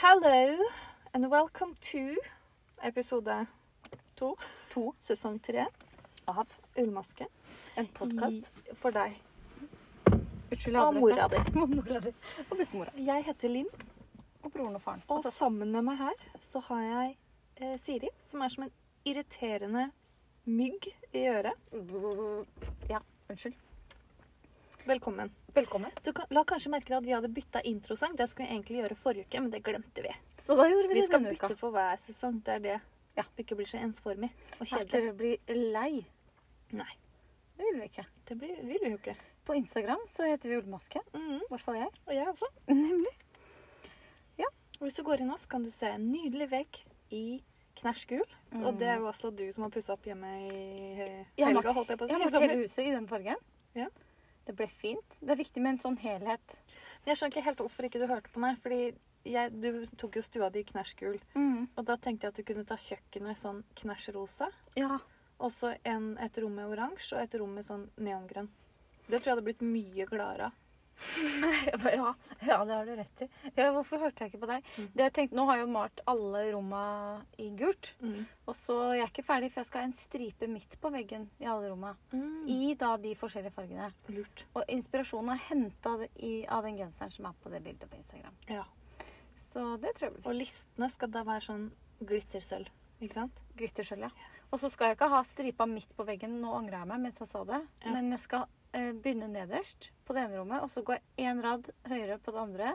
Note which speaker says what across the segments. Speaker 1: Hello and welcome to episode to,
Speaker 2: To.
Speaker 1: sesong tre
Speaker 2: av
Speaker 1: Ullmaske.
Speaker 2: en podkast.
Speaker 1: I- For deg
Speaker 2: Unnskyld,
Speaker 1: og mora di.
Speaker 2: Og mora di. Og bestemora.
Speaker 1: Jeg heter Linn,
Speaker 2: Og broren og faren.
Speaker 1: og
Speaker 2: Og
Speaker 1: sammen med meg her så har jeg eh, Siri, som er som en irriterende mygg i øret.
Speaker 2: søs- Ja, unnskyld.
Speaker 1: Velkommen.
Speaker 2: Velkommen.
Speaker 1: Du kan, la kanskje merke deg at vi hadde bytta introsang. Det skulle vi egentlig gjøre forrige uke, men det glemte vi.
Speaker 2: Så da gjorde vi,
Speaker 1: Vi
Speaker 2: det
Speaker 1: skal
Speaker 2: denne uka.
Speaker 1: bytte for hver sesong. Det er det.
Speaker 2: Ja.
Speaker 1: Ikke blir så ensformig og
Speaker 2: At
Speaker 1: kjedelig.
Speaker 2: dere blir lei.
Speaker 1: Nei,
Speaker 2: Det vil vi ikke.
Speaker 1: det blir, vil vi jo ikke.
Speaker 2: På Instagram så heter vi Ullmaske.
Speaker 1: Mm.
Speaker 2: I hvert fall jeg.
Speaker 1: Og jeg også.
Speaker 2: Nemlig.
Speaker 1: Hvis du går inn nå, så kan du se en nydelig vegg i knæsj gul.
Speaker 2: Mm.
Speaker 1: Og det er jo også du som har pussa opp hjemme i eh,
Speaker 2: Jeg har
Speaker 1: helga,
Speaker 2: malt-
Speaker 1: holdt jeg på å
Speaker 2: Jeg
Speaker 1: si.
Speaker 2: har
Speaker 1: i
Speaker 2: vært hele
Speaker 1: sommer.
Speaker 2: huset i den fargen.
Speaker 1: Ja.
Speaker 2: Det ble fint. Det er viktig med en sånn helhet.
Speaker 1: Jeg skjønner ikke helt hvorfor ikke du hørte på meg. Fordi jeg, du tok jo stua di i knæsj gul.
Speaker 2: Mm.
Speaker 1: Og da tenkte jeg at du kunne ta kjøkkenet sånn knæsj rosa.
Speaker 2: Ja.
Speaker 1: Og så en- et rom med oransje og et rom med sånn neongrønn. Det tror jeg hadde blitt mye gladere av.
Speaker 2: Jeg ba, Ja, ja, det har du rett i. Ja, hvorfor hørte jeg ikke på deg? Det jeg tenkte, Nå har jeg jo malt alle romma i gult.
Speaker 1: Mm.
Speaker 2: Og så jeg er ikke ferdig, for jeg skal ha en stripe midt på veggen i alle romma. I da de forskjellige fargene.
Speaker 1: Lurt.
Speaker 2: Og inspirasjonen er henta av den genseren som er på det bildet på Instagram.
Speaker 1: Ja.
Speaker 2: Så det tror jeg blir fint.
Speaker 1: Og listene skal da være sånn glittersølv. Ikke sant?
Speaker 2: Glittersølv, ja. Og så skal jeg ikke ha stripa midt på veggen. Nå angra jeg meg mens jeg sa det.
Speaker 1: Ja.
Speaker 2: Men jeg skal eh, begynne nederst på det ene rommet, og så går jeg én rad høyere på det andre.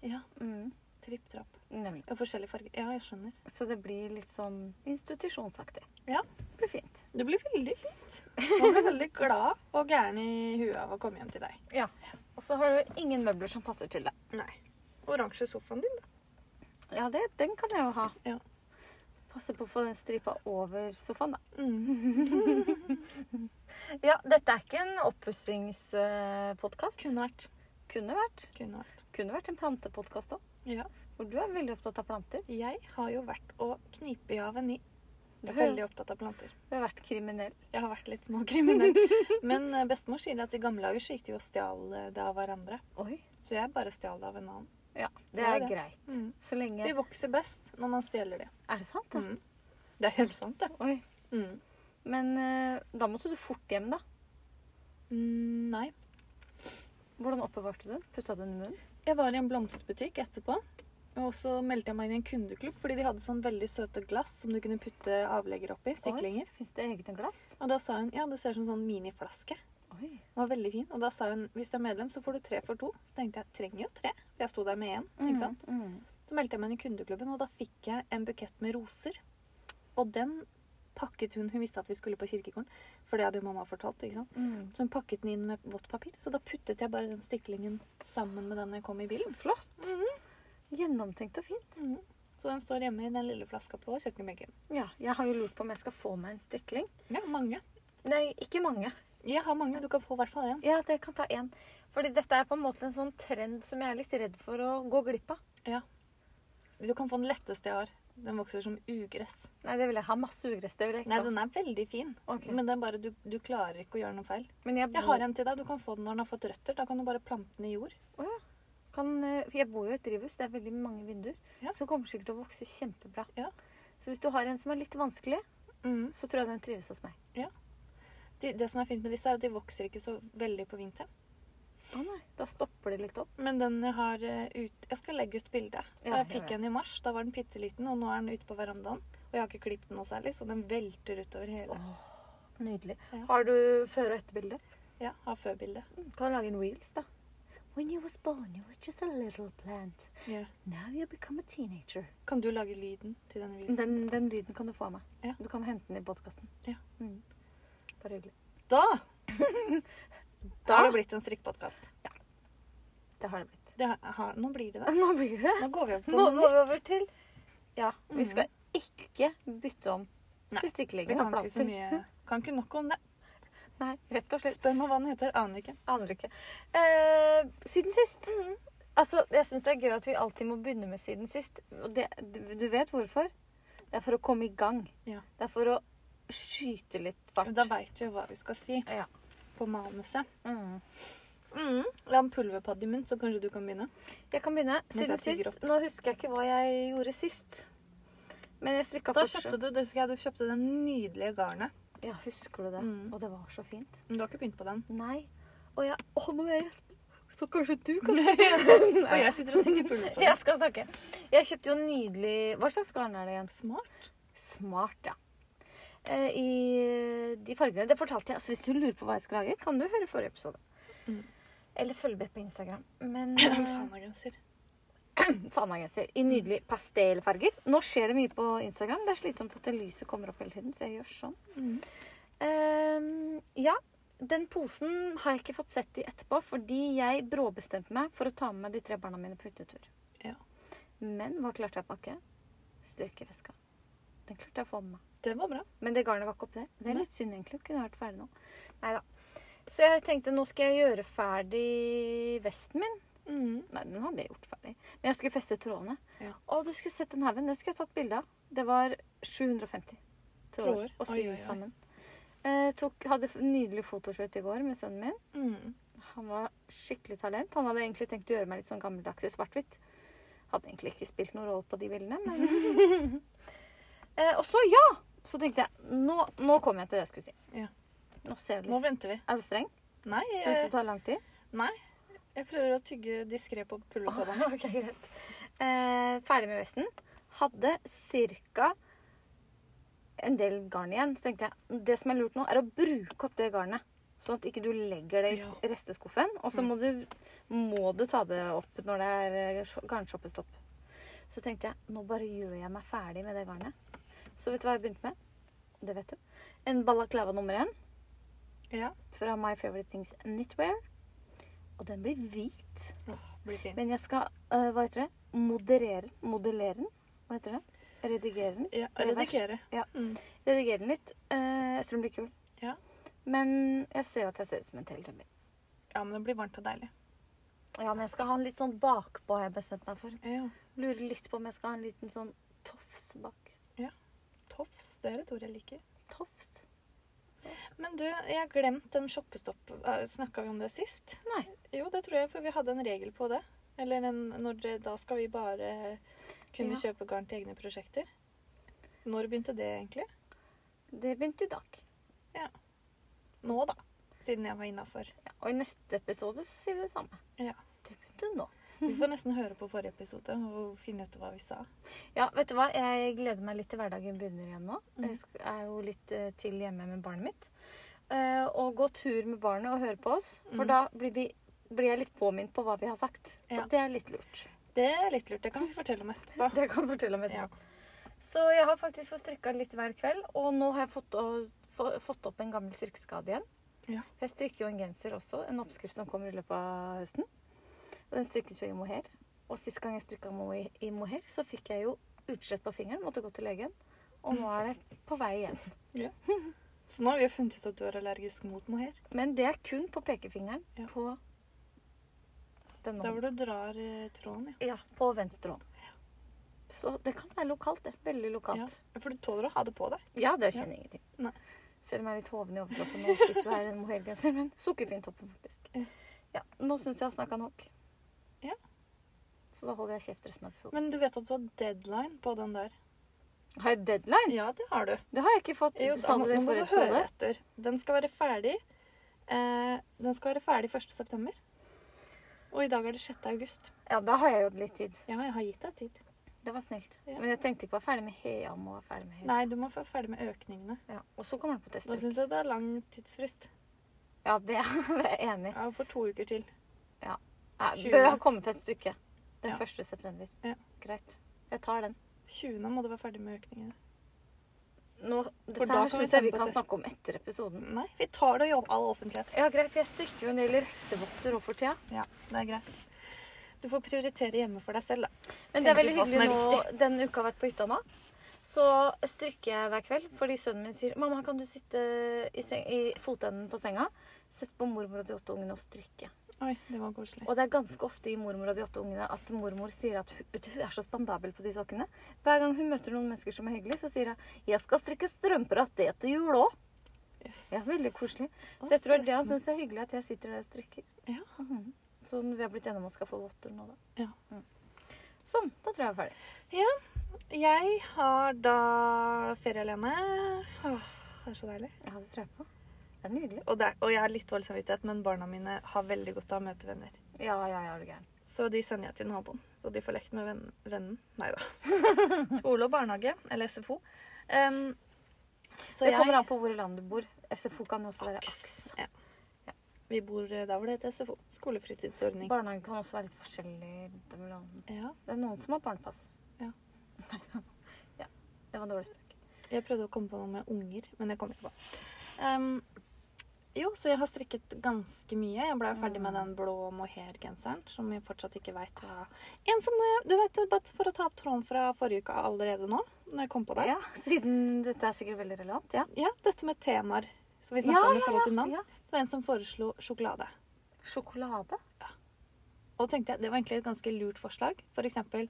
Speaker 1: Ja.
Speaker 2: Mm,
Speaker 1: Tripp trapp.
Speaker 2: nemlig.
Speaker 1: Og forskjellige farger. Ja, jeg skjønner.
Speaker 2: Så det blir litt sånn institusjonsaktig.
Speaker 1: Ja.
Speaker 2: Det blir fint.
Speaker 1: Det blir veldig fint. Man blir veldig glad og gæren i huet av å komme hjem til deg.
Speaker 2: Ja. Og så har du ingen møbler som passer til deg.
Speaker 1: Nei. Oransje sofaen din, da.
Speaker 2: Ja, det, den kan jeg jo ha.
Speaker 1: Ja.
Speaker 2: Passe på å få den stripa over sofaen, da.
Speaker 1: Mm.
Speaker 2: Ja, dette er ikke en oppussingspodkast.
Speaker 1: Kunne vært.
Speaker 2: Kunne vært.
Speaker 1: Kunne vært.
Speaker 2: Kunne vært en plantepodkast òg.
Speaker 1: Ja.
Speaker 2: Hvor du er veldig opptatt av planter.
Speaker 1: Jeg har jo vært og knipe i av en ny. Jeg er
Speaker 2: Ja.
Speaker 1: veldig opptatt av planter.
Speaker 2: Du har vært kriminell.
Speaker 1: Jeg har vært litt småkriminell. Men eh, bestemor sier at i gamle dager så gikk de jo og stjal eh, det av hverandre.
Speaker 2: Oi.
Speaker 1: Så jeg bare stjal det av en annen.
Speaker 2: Ja, det
Speaker 1: Ja,
Speaker 2: er
Speaker 1: det.
Speaker 2: greit.
Speaker 1: Mm.
Speaker 2: Så lenge
Speaker 1: De vokser best når man stjeler de.
Speaker 2: Er det sant, da?
Speaker 1: Mm. Det er helt sant, det.
Speaker 2: Oi.
Speaker 1: Mm.
Speaker 2: Men eh, da måtte du fort hjem, da.
Speaker 1: Mm, nei.
Speaker 2: Hvordan oppbevarte du den? Putta du den i munnen?
Speaker 1: Jeg var i en blomsterbutikk etterpå. Og så meldte jeg meg inn i en kundeklubb, fordi de hadde sånn veldig søte glass som du kunne putte avlegger oppi. Stiklinger.
Speaker 2: Fins det egne glass?
Speaker 1: Og da sa hun ja, det ser ut som en sånn miniflaske.
Speaker 2: Oi.
Speaker 1: Den var veldig fin. Og da sa hun hvis du er medlem, så får du tre for to. Så tenkte jeg trenger jo tre. For jeg sto der med én.
Speaker 2: Mm,
Speaker 1: ikke sant?
Speaker 2: Mm.
Speaker 1: Så meldte jeg meg inn i kundeklubben, og da fikk jeg en bukett med roser. Og den pakket hun Hun visste at vi skulle på kirkegården, for det hadde jo mamma fortalt. ikke sant?
Speaker 2: Mm.
Speaker 1: Så hun pakket den inn med vått papir. Så da puttet jeg bare den stiklingen sammen med den jeg kom i bilen.
Speaker 2: Så flott. Gjennomtenkt og fint.
Speaker 1: Mhm. Så den står hjemme i den lille flaska på kjøkkenbenken.
Speaker 2: Ja, Jeg har jo lurt på om jeg skal få meg en stikling.
Speaker 1: Ja, mange.
Speaker 2: Nei, ikke mange.
Speaker 1: Jeg har mange. Du kan få i hvert fall én.
Speaker 2: Ja, det kan ta én. Fordi dette er på en måte en sånn trend som jeg er litt redd for å gå glipp av.
Speaker 1: Du kan få den letteste jeg har. Den vokser som ugress.
Speaker 2: Nei, det vil jeg ha. Masse ugress. Det vil jeg
Speaker 1: Nei,
Speaker 2: ikke ha.
Speaker 1: den er veldig fin,
Speaker 2: Ok.
Speaker 1: men det er bare du, du klarer ikke å gjøre noe feil.
Speaker 2: Men jeg,
Speaker 1: Jeg har en til deg. Du kan få den når den har fått røtter. Da kan du bare plante den i jord.
Speaker 2: Å ja. Kan, eh, for jeg bor jo i et drivhus. Det er veldig mange vinduer.
Speaker 1: Ja.
Speaker 2: Så det kommer sikkert til å vokse kjempebra.
Speaker 1: Ja.
Speaker 2: Så hvis du har en som er litt vanskelig, så tror jeg den trives hos meg.
Speaker 1: De, det som er fint med disse, er at de vokser ikke så veldig på vinteren.
Speaker 2: Å nei, Da stopper det litt opp.
Speaker 1: Men den jeg har eh, ut Jeg skal legge ut bilde.
Speaker 2: Ja,
Speaker 1: jeg
Speaker 2: gjør
Speaker 1: fikk
Speaker 2: det.
Speaker 1: en i mars. Da var den bitte liten, og nå er den ute på verandaen. Og jeg har ikke klippet den noe særlig, så den velter utover hele.
Speaker 2: Nydelig.
Speaker 1: Ja.
Speaker 2: Har du før- og etterbilde? Mm,
Speaker 1: Ja, har før-bilde.
Speaker 2: Kan lage en reels, da. When you was born, you was just a little plant.
Speaker 1: Ja.
Speaker 2: Now you become a teenager.
Speaker 1: Kan du lage lyden til den reelsen?
Speaker 2: Den, den lyden kan du få av meg.
Speaker 1: Ja.
Speaker 2: Du kan hente den i podkasten.
Speaker 1: Ja.
Speaker 2: Mm. Bare hyggelig.
Speaker 1: Da Da
Speaker 2: Da?
Speaker 1: har det blitt en strikkepodkast.
Speaker 2: Det har det blitt.
Speaker 1: Det har- har- Nå blir det det.
Speaker 2: Nå blir det
Speaker 1: Nå går vi opp på
Speaker 2: Nå
Speaker 1: noe nytt.
Speaker 2: går vi
Speaker 1: Mm.
Speaker 2: over til Ja, vi skal ikke bytte om
Speaker 1: Nei,
Speaker 2: til
Speaker 1: Vi
Speaker 2: stikkelegging
Speaker 1: kan
Speaker 2: og
Speaker 1: ikke så
Speaker 2: planter.
Speaker 1: mye Kan ikke nok om det.
Speaker 2: Nei, rett og slett.
Speaker 1: Spør meg hva den heter. Aner ikke.
Speaker 2: Aner ikke. Eh, siden sist.
Speaker 1: Mm.
Speaker 2: Altså, jeg syns det er gøy at vi alltid må begynne med siden sist. Og det, du du vet hvorfor? Det er for å komme i gang.
Speaker 1: Ja.
Speaker 2: Det er for å skyte litt fart.
Speaker 1: Men Da veit vi hva vi skal si
Speaker 2: Ja.
Speaker 1: på manuset.
Speaker 2: Mm.
Speaker 1: Mm. La en pulverpadde i munnen, så kanskje du kan begynne.
Speaker 2: Jeg kan begynne.
Speaker 1: Mens
Speaker 2: Siden
Speaker 1: jeg tygger
Speaker 2: sist Nå husker jeg ikke hva jeg gjorde sist. Men jeg strikka
Speaker 1: Da
Speaker 2: fortsatt.
Speaker 1: kjøpte du det husker jeg, du kjøpte det nydelige garnet.
Speaker 2: Ja, husker du det?
Speaker 1: Mm.
Speaker 2: Og det var så fint.
Speaker 1: Men du har ikke begynt på den.
Speaker 2: Nei. Og jeg Å, nå er jeg gjesp. Så kanskje du kan Nei.
Speaker 1: Og jeg sitter og tenker pulverpadde.
Speaker 2: Jeg skal snakke. Jeg kjøpte jo nydelig Hva slags garn er det igjen?
Speaker 1: Smart.
Speaker 2: Smart, ja. Eh, I de fargene. Det fortalte jeg. Så hvis du lurer på hva jeg skal lage, kan du høre forrige episode.
Speaker 1: Mm.
Speaker 2: Eller følg med på Instagram. Men eh,
Speaker 1: Fanagenser.
Speaker 2: Fanagenser i nydelige pastellfarger. Nå skjer det mye på Instagram. Det er slitsomt at det lyset kommer opp hele tiden, så jeg gjør sånn.
Speaker 1: Mm.
Speaker 2: Ehm, ja, den posen har jeg ikke fått sett i etterpå, fordi jeg bråbestemte meg for å ta med meg de tre barna mine på utetur.
Speaker 1: Ja.
Speaker 2: Men hva klarte jeg å pakke? Strikkeveska. Den klarte jeg å få med meg.
Speaker 1: Det var bra.
Speaker 2: Men det garnet var ikke oppi der. Det er
Speaker 1: Nei.
Speaker 2: litt synd, egentlig. Kunne vært ferdig nå. Neida. Så jeg tenkte nå skal jeg gjøre ferdig vesten min.
Speaker 1: Mm.
Speaker 2: Nei, den hadde jeg gjort ferdig. Men jeg skulle feste trådene.
Speaker 1: Ja.
Speaker 2: Å, du skulle sett den haugen. Den skulle jeg tatt bilde av. Det var 750 tråder
Speaker 1: Tråder.
Speaker 2: å sy
Speaker 1: Oi, oi, oi.
Speaker 2: sammen. Eh, tok, hadde f- nydelig fotoshoot i går med sønnen min.
Speaker 1: Mm.
Speaker 2: Han var skikkelig talent. Han hadde egentlig tenkt å gjøre meg litt sånn gammeldags i svart-hvitt. Hadde egentlig ikke spilt noen rolle på de bildene, men eh, Og så, ja! Så tenkte jeg nå, nå kom jeg til det jeg skulle si.
Speaker 1: Ja.
Speaker 2: Nå ser du
Speaker 1: Nå Eh,
Speaker 2: litt.
Speaker 1: venter vi.
Speaker 2: Er du streng?
Speaker 1: Nei,
Speaker 2: Syns
Speaker 1: jeg,
Speaker 2: det tar lang tid?
Speaker 1: nei. jeg prøver å tygge diskré på pulverpadden.
Speaker 2: Ok, greit. Eh, ferdig med vesten. Hadde ca. en del garn igjen. Så tenkte jeg det som er lurt nå, er å bruke opp det garnet. Sånn at ikke du legger det i sk- resteskuffen. Og så må, du- må du ta det opp når det er eh, sj- garnshoppestopp. Så tenkte jeg nå bare gjør jeg meg ferdig med det garnet. Så vet du hva jeg begynte med? Det vet du. En balaklava nummer én
Speaker 1: Ja,
Speaker 2: fra My Favorite Things Knitwear. Og den blir hvit.
Speaker 1: blir fin.
Speaker 2: Men jeg skal øh, hva heter det? moderere den. Modellere den. Hva heter det? Redigere den.
Speaker 1: Ja,
Speaker 2: Revers.
Speaker 1: redigere.
Speaker 2: Ja.
Speaker 1: Mm.
Speaker 2: Redigere den litt. Eh, jeg tror den blir kul.
Speaker 1: Ja.
Speaker 2: Men jeg ser jo at jeg ser ut som en teletubby.
Speaker 1: ja, men det blir varmt og deilig.
Speaker 2: Ja, men jeg skal ha en litt sånn bakpå, har jeg bestemt meg for.
Speaker 1: Ja.
Speaker 2: Lurer litt på om jeg skal ha en liten sånn tofs bak.
Speaker 1: Tofs, det er et ord jeg liker.
Speaker 2: Tofs?
Speaker 1: Men du, jeg har glemt den shoppestopp. Snakka vi om det sist?
Speaker 2: Nei.
Speaker 1: Jo, det tror jeg, for vi hadde en regel på det. Eller en, når det, da skal vi bare kunne
Speaker 2: Ja.
Speaker 1: kjøpe garn til egne prosjekter. Når begynte det egentlig?
Speaker 2: Det begynte i dag.
Speaker 1: Nå, da. Siden jeg var innafor.
Speaker 2: Ja, og i neste episode så sier vi det samme.
Speaker 1: Ja.
Speaker 2: Det begynte nå.
Speaker 1: Vi får nesten høre på forrige episode og finne ut hva vi sa.
Speaker 2: Ja, vet du hva? Jeg gleder meg litt til hverdagen begynner igjen nå.
Speaker 1: Mhm.
Speaker 2: Jeg sk- er jo litt eh, til hjemme med barnet mitt. Eh, og gå tur med barnet og høre på oss. For
Speaker 1: Mhm.
Speaker 2: da blir, vi, blir jeg litt påminnet på hva vi har sagt.
Speaker 1: Ja. Ah.
Speaker 2: Og det er litt lurt.
Speaker 1: Det er litt lurt. Det kan vi fortelle om etterpå.
Speaker 2: Det kan jeg fortelle om
Speaker 1: Ja.
Speaker 2: etterpå. Så jeg har faktisk fått strikka litt hver kveld. Og nå har jeg fått, å, få, fått opp en gammel strikkeskade igjen.
Speaker 1: Ja.
Speaker 2: Jeg strikker jo en genser også. En oppskrift som kommer i løpet av høsten. Og den strikkes jo i mohair. Og sist gang jeg strikka mo i, i mohair, så fikk jeg jo utslett på fingeren. Måtte gå til legen. Og nå er det på vei igjen.
Speaker 1: Så nå har vi jo funnet ut at du er allergisk mot mohair.
Speaker 2: Men det er kun på pekefingeren
Speaker 1: Ja.
Speaker 2: på den
Speaker 1: Der
Speaker 2: hånden.
Speaker 1: hvor du drar eh, tråden, ja.
Speaker 2: Ja, på venstre hånd. Så det kan være lokalt, det. Veldig lokalt.
Speaker 1: ja. For du tåler å ha det på deg.
Speaker 2: Ja, det kjenner jeg ingenting.
Speaker 1: Nei.
Speaker 2: Selv om jeg er litt hoven i overkroppen nå, sitter jo her i en mohairgenser, men sukkerfin toppen, faktisk.
Speaker 1: Ja.
Speaker 2: Ja, nå syns jeg jeg har snakka nok.
Speaker 1: Ja.
Speaker 2: Så da holder jeg kjeft resten av episoden.
Speaker 1: Men du vet at du har deadline på den der.
Speaker 2: Har jeg deadline?
Speaker 1: Ja, det har du.
Speaker 2: Det har jeg ikke fått.
Speaker 1: Jo,
Speaker 2: du sa
Speaker 1: nå-
Speaker 2: det i
Speaker 1: nå må
Speaker 2: forrige
Speaker 1: du høre
Speaker 2: episode.
Speaker 1: Etter. Den skal være ferdig eh, Den skal være ferdig 1. september. Og i dag er det 6. august.
Speaker 2: Ja, da har jeg jo litt tid.
Speaker 1: Ja, jeg har gitt deg tid.
Speaker 2: Det var snilt.
Speaker 1: Ja.
Speaker 2: Men jeg tenkte ikke å være ferdig med hea om å være ferdig med hea.
Speaker 1: Nei, du må få ferdig med økningene.
Speaker 2: Ja. Og så kommer den på test.
Speaker 1: Da syns jeg det er lang tidsfrist.
Speaker 2: Ja, det er jeg enig i.
Speaker 1: Ja, for to uker til.
Speaker 2: Ja,
Speaker 1: Tjue.
Speaker 2: Bør ha kommet et stykke. Den
Speaker 1: Ja.
Speaker 2: 1. september.
Speaker 1: Ja.
Speaker 2: Greit. Jeg tar den.
Speaker 1: 20. må du være ferdig med økningene.
Speaker 2: Nå, dette
Speaker 1: da
Speaker 2: her
Speaker 1: kan vi
Speaker 2: syns jeg
Speaker 1: sende
Speaker 2: vi
Speaker 1: på
Speaker 2: kan
Speaker 1: test.
Speaker 2: snakke om etter episoden.
Speaker 1: Nei, vi tar det i all offentlighet.
Speaker 2: Ja, greit, for jeg strikker jo en del restevotter òg for tida.
Speaker 1: Ja, det er greit. Du får prioritere hjemme for deg selv, da.
Speaker 2: Men det
Speaker 1: Tenker
Speaker 2: er veldig
Speaker 1: på hva som
Speaker 2: hyggelig
Speaker 1: er
Speaker 2: nå denne uka har vært på hytta nå. Så strikker jeg hver kveld fordi sønnen min sier 'Mamma, kan du sitte i, seng i fotenden på senga?' Sett på mormor og de åtte ungene og strikke.
Speaker 1: Oi, det var koselig.
Speaker 2: Og det er ganske ofte i mormor og de åtte ungene at mormor sier at hun, vet du, hun er så spandabel på de sokkene. Hver gang hun møter noen mennesker som er hyggelige, så sier hun 'Jeg skal strikke strømper av det til jul òg'.
Speaker 1: Yes.
Speaker 2: Ja, veldig koselig.
Speaker 1: Å,
Speaker 2: Så jeg tror det han
Speaker 1: forresten.
Speaker 2: syns er hyggelig at jeg sitter der og strikker.
Speaker 1: Ja.
Speaker 2: Mhm. Så vi har blitt enige om å skaffe votter nå, da.
Speaker 1: Ja.
Speaker 2: Mm. Sånn. Da tror jeg jeg er ferdig.
Speaker 1: Jeg har da ferie alene. Åh, det er så deilig.
Speaker 2: Ja, det tror jeg på. Det er nydelig.
Speaker 1: Og, det, er- og jeg har litt dårlig samvittighet, men barna mine har veldig godt av å møte venner.
Speaker 2: Ja, ja, ja, er du gæren.
Speaker 1: Så de sender jeg til naboen. Så de får lekt med vennen. vennen. Nei da. Skole og barnehage, eller SFO. Em, så
Speaker 2: Det kommer an på hvor i landet du bor. SFO kan jo også være aks.
Speaker 1: Aks. Ja. Vi bor eh, der hvor det heter SFO. Skolefritidsordning.
Speaker 2: Barnehagen kan også være litt forskjellig. Det er vel-
Speaker 1: Ja.
Speaker 2: det er noen som har barnepass.
Speaker 1: Ja.
Speaker 2: Nei, da- ja. Det var dårlig spøk.
Speaker 1: Jeg prøvde å komme på noe med unger, men jeg kom ikke på. Em, jo, så jeg har strikket ganske mye. Jeg ble jo ferdig med den blå mohair-genseren, som jeg fortsatt ikke veit hva En som eh, Du vet, bare for å ta opp tråden fra forrige uke allerede nå, når jeg kom på det.
Speaker 2: Ja, siden dette er sikkert veldig relevant. Ja.
Speaker 1: Ja, dette med temaer som vi snakket
Speaker 2: Ja,
Speaker 1: om i forhold til navn.
Speaker 2: ja.
Speaker 1: Det var en som foreslo sjokolade.
Speaker 2: Sjokolade?
Speaker 1: Og tenkte jeg, Det var egentlig et ganske lurt forslag. For eksempel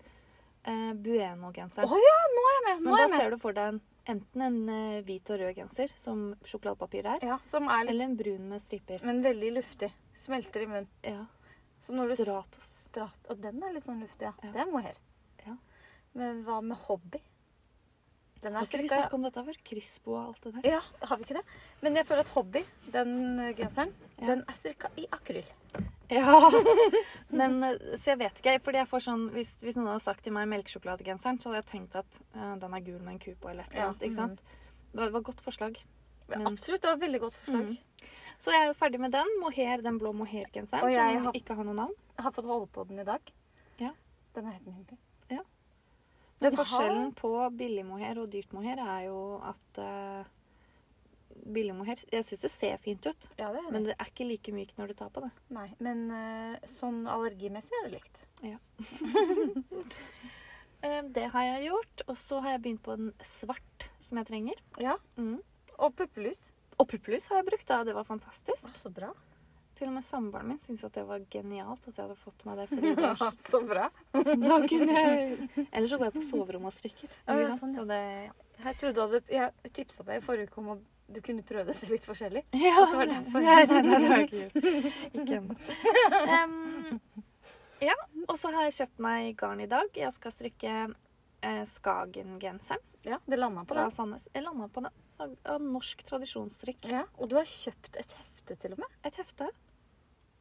Speaker 1: eh, Bueno-genseren.
Speaker 2: Å ja, nå er jeg med!
Speaker 1: Men
Speaker 2: Nå er
Speaker 1: da
Speaker 2: jeg med.
Speaker 1: ser du for deg en, enten en eh, hvit og rød genser, som sjokoladepapir er,
Speaker 2: Ja, som er litt
Speaker 1: eller en brun med striper.
Speaker 2: Men veldig luftig. Smelter i munnen.
Speaker 1: Ja.
Speaker 2: Så når du
Speaker 1: Stratos.
Speaker 2: Strat. Og den er litt sånn luftig, ja.
Speaker 1: Ja.
Speaker 2: Det er mohair.
Speaker 1: Ja.
Speaker 2: Men hva med hobby? Den er
Speaker 1: Har ikke vi
Speaker 2: strikka
Speaker 1: snakket om dette før? Crispo og alt det der.
Speaker 2: Ja, har vi ikke det? Men jeg føler at hobby, den eh, genseren,
Speaker 1: Ja.
Speaker 2: den er strikka i akryl.
Speaker 1: Ja. Men eh, så jeg vet ikke, fordi jeg får sånn Hvis, hvis noen hadde sagt til meg melkesjokoladegenseren, så hadde jeg tenkt at eh, den er gul med en ku på eller et eller
Speaker 2: Ja, mhm.
Speaker 1: annet. ikke sant? Det var, det var et godt forslag.
Speaker 2: Men
Speaker 1: Men-
Speaker 2: Absolutt, det var et veldig godt forslag.
Speaker 1: Mhm. Så jeg er jo ferdig med den. Mohair, den blå
Speaker 2: Og
Speaker 1: mohairgenseren
Speaker 2: jeg
Speaker 1: som
Speaker 2: har-
Speaker 1: ikke har noe navn.
Speaker 2: Jeg har fått holde på den i dag.
Speaker 1: Ja.
Speaker 2: Den er helt nydelig.
Speaker 1: Ja.
Speaker 2: Den
Speaker 1: Men forskjellen
Speaker 2: har-
Speaker 1: på billig mohair og dyrt mohair er jo at eh, billig mohair Jeg syns det ser fint ut,
Speaker 2: Ja, det er
Speaker 1: men det
Speaker 2: det.
Speaker 1: er ikke like mykt når du tar på det.
Speaker 2: Nei, men eh, sånn allergimessig er det likt.
Speaker 1: Eh, Det har jeg gjort. Og så har jeg begynt på en svart som jeg trenger.
Speaker 2: Ja.
Speaker 1: Mm.
Speaker 2: Og puppelus.
Speaker 1: Og puppelus har jeg brukt, da. Det var fantastisk.
Speaker 2: Så bra.
Speaker 1: Til og med samboeren min syntes at det var genialt at jeg hadde fått meg det. Fordi da,
Speaker 2: Så bra.
Speaker 1: da kunne jeg Ellers så går jeg på soverommet og strikker.
Speaker 2: Ja, ja,
Speaker 1: ikke sant?
Speaker 2: sånn, ja.
Speaker 1: Så det,
Speaker 2: Jeg trodde du hadde, jeg tipsa deg i forrige uke om at du kunne prøve det så litt forskjellig.
Speaker 1: Ja,
Speaker 2: det var derfor.
Speaker 1: Nei, nei, nei, det var ikke jul. Ikke ennå. Em, ja, og så har jeg kjøpt meg garn i dag. Jeg skal strikke eh, Skagen-genseren
Speaker 2: Ja, det landa på
Speaker 1: fra
Speaker 2: den.
Speaker 1: Sandnes. Jeg landa på den. Av, av norsk tradisjonsstrikk.
Speaker 2: Ja, og du har kjøpt et hefte til og med.
Speaker 1: Et hefte.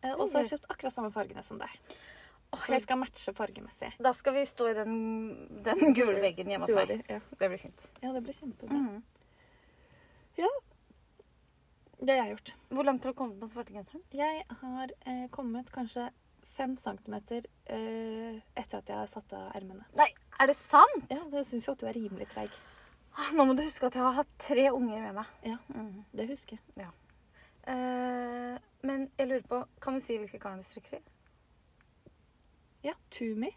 Speaker 1: Eh, og så har jeg kjøpt akkurat samme fargene som deg.
Speaker 2: Åh,
Speaker 1: Så vi skal matche fargemessig.
Speaker 2: Da skal vi stå i den, den gule veggen hjemme hos
Speaker 1: Stua
Speaker 2: meg.
Speaker 1: di, Ja.
Speaker 2: Det blir fint.
Speaker 1: ja, det blir kjempebra.
Speaker 2: Mm.
Speaker 1: Det har jeg gjort.
Speaker 2: Hvor langt har du kommet med svartegenseren?
Speaker 1: Jeg har eh, kommet kanskje fem centimeter eh, etter at jeg har satt av ermene.
Speaker 2: Nei, er det sant?
Speaker 1: Ja, så jeg syns jo at du er rimelig treig.
Speaker 2: Ah, Nå må du huske at jeg har hatt tre unger med meg.
Speaker 1: Ja.
Speaker 2: Mhm.
Speaker 1: Det husker jeg.
Speaker 2: Eh, men jeg lurer på, kan du si hvilke garn du strikker i?
Speaker 1: Ja, Tumi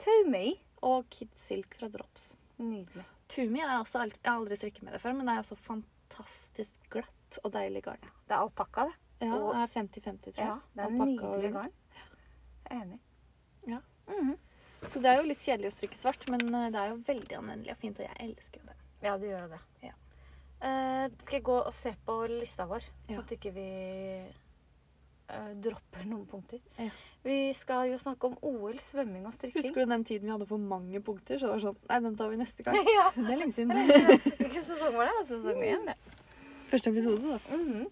Speaker 2: Taumei.
Speaker 1: og Kid Silk fra Drops.
Speaker 2: Nydelig.
Speaker 1: Tumi har jeg, altså aldri, jeg har aldri strikket med det før, men det er altså fantastisk glatt og deilig garn.
Speaker 2: Det er alpakka, det.
Speaker 1: Ja,
Speaker 2: Og-
Speaker 1: det er 50-50, tror jeg.
Speaker 2: Ja, det er
Speaker 1: Alpakka og
Speaker 2: nydelig
Speaker 1: ull.
Speaker 2: garn. Jeg er enig.
Speaker 1: Ja.
Speaker 2: Mhm.
Speaker 1: Så det er jo litt kjedelig å strikke svart, men eh, det er jo veldig anvendelig og fint, og jeg elsker jo det.
Speaker 2: Ja, det gjør jo det.
Speaker 1: Ja.
Speaker 2: Eh, skal jeg gå og se på lista vår,
Speaker 1: Ja.
Speaker 2: sånn at ikke vi eh, dropper noen punkter?
Speaker 1: Ja.
Speaker 2: Vi skal jo snakke om OL, svømming og strikking.
Speaker 1: Husker du den tiden vi hadde for mange punkter? Så det var sånn Nei, den tar vi neste gang.
Speaker 2: ja.
Speaker 1: Det er lenge siden.
Speaker 2: Hvilken sesong var det? Det var sesong én, det.
Speaker 1: Første episode, da.
Speaker 2: Mhm.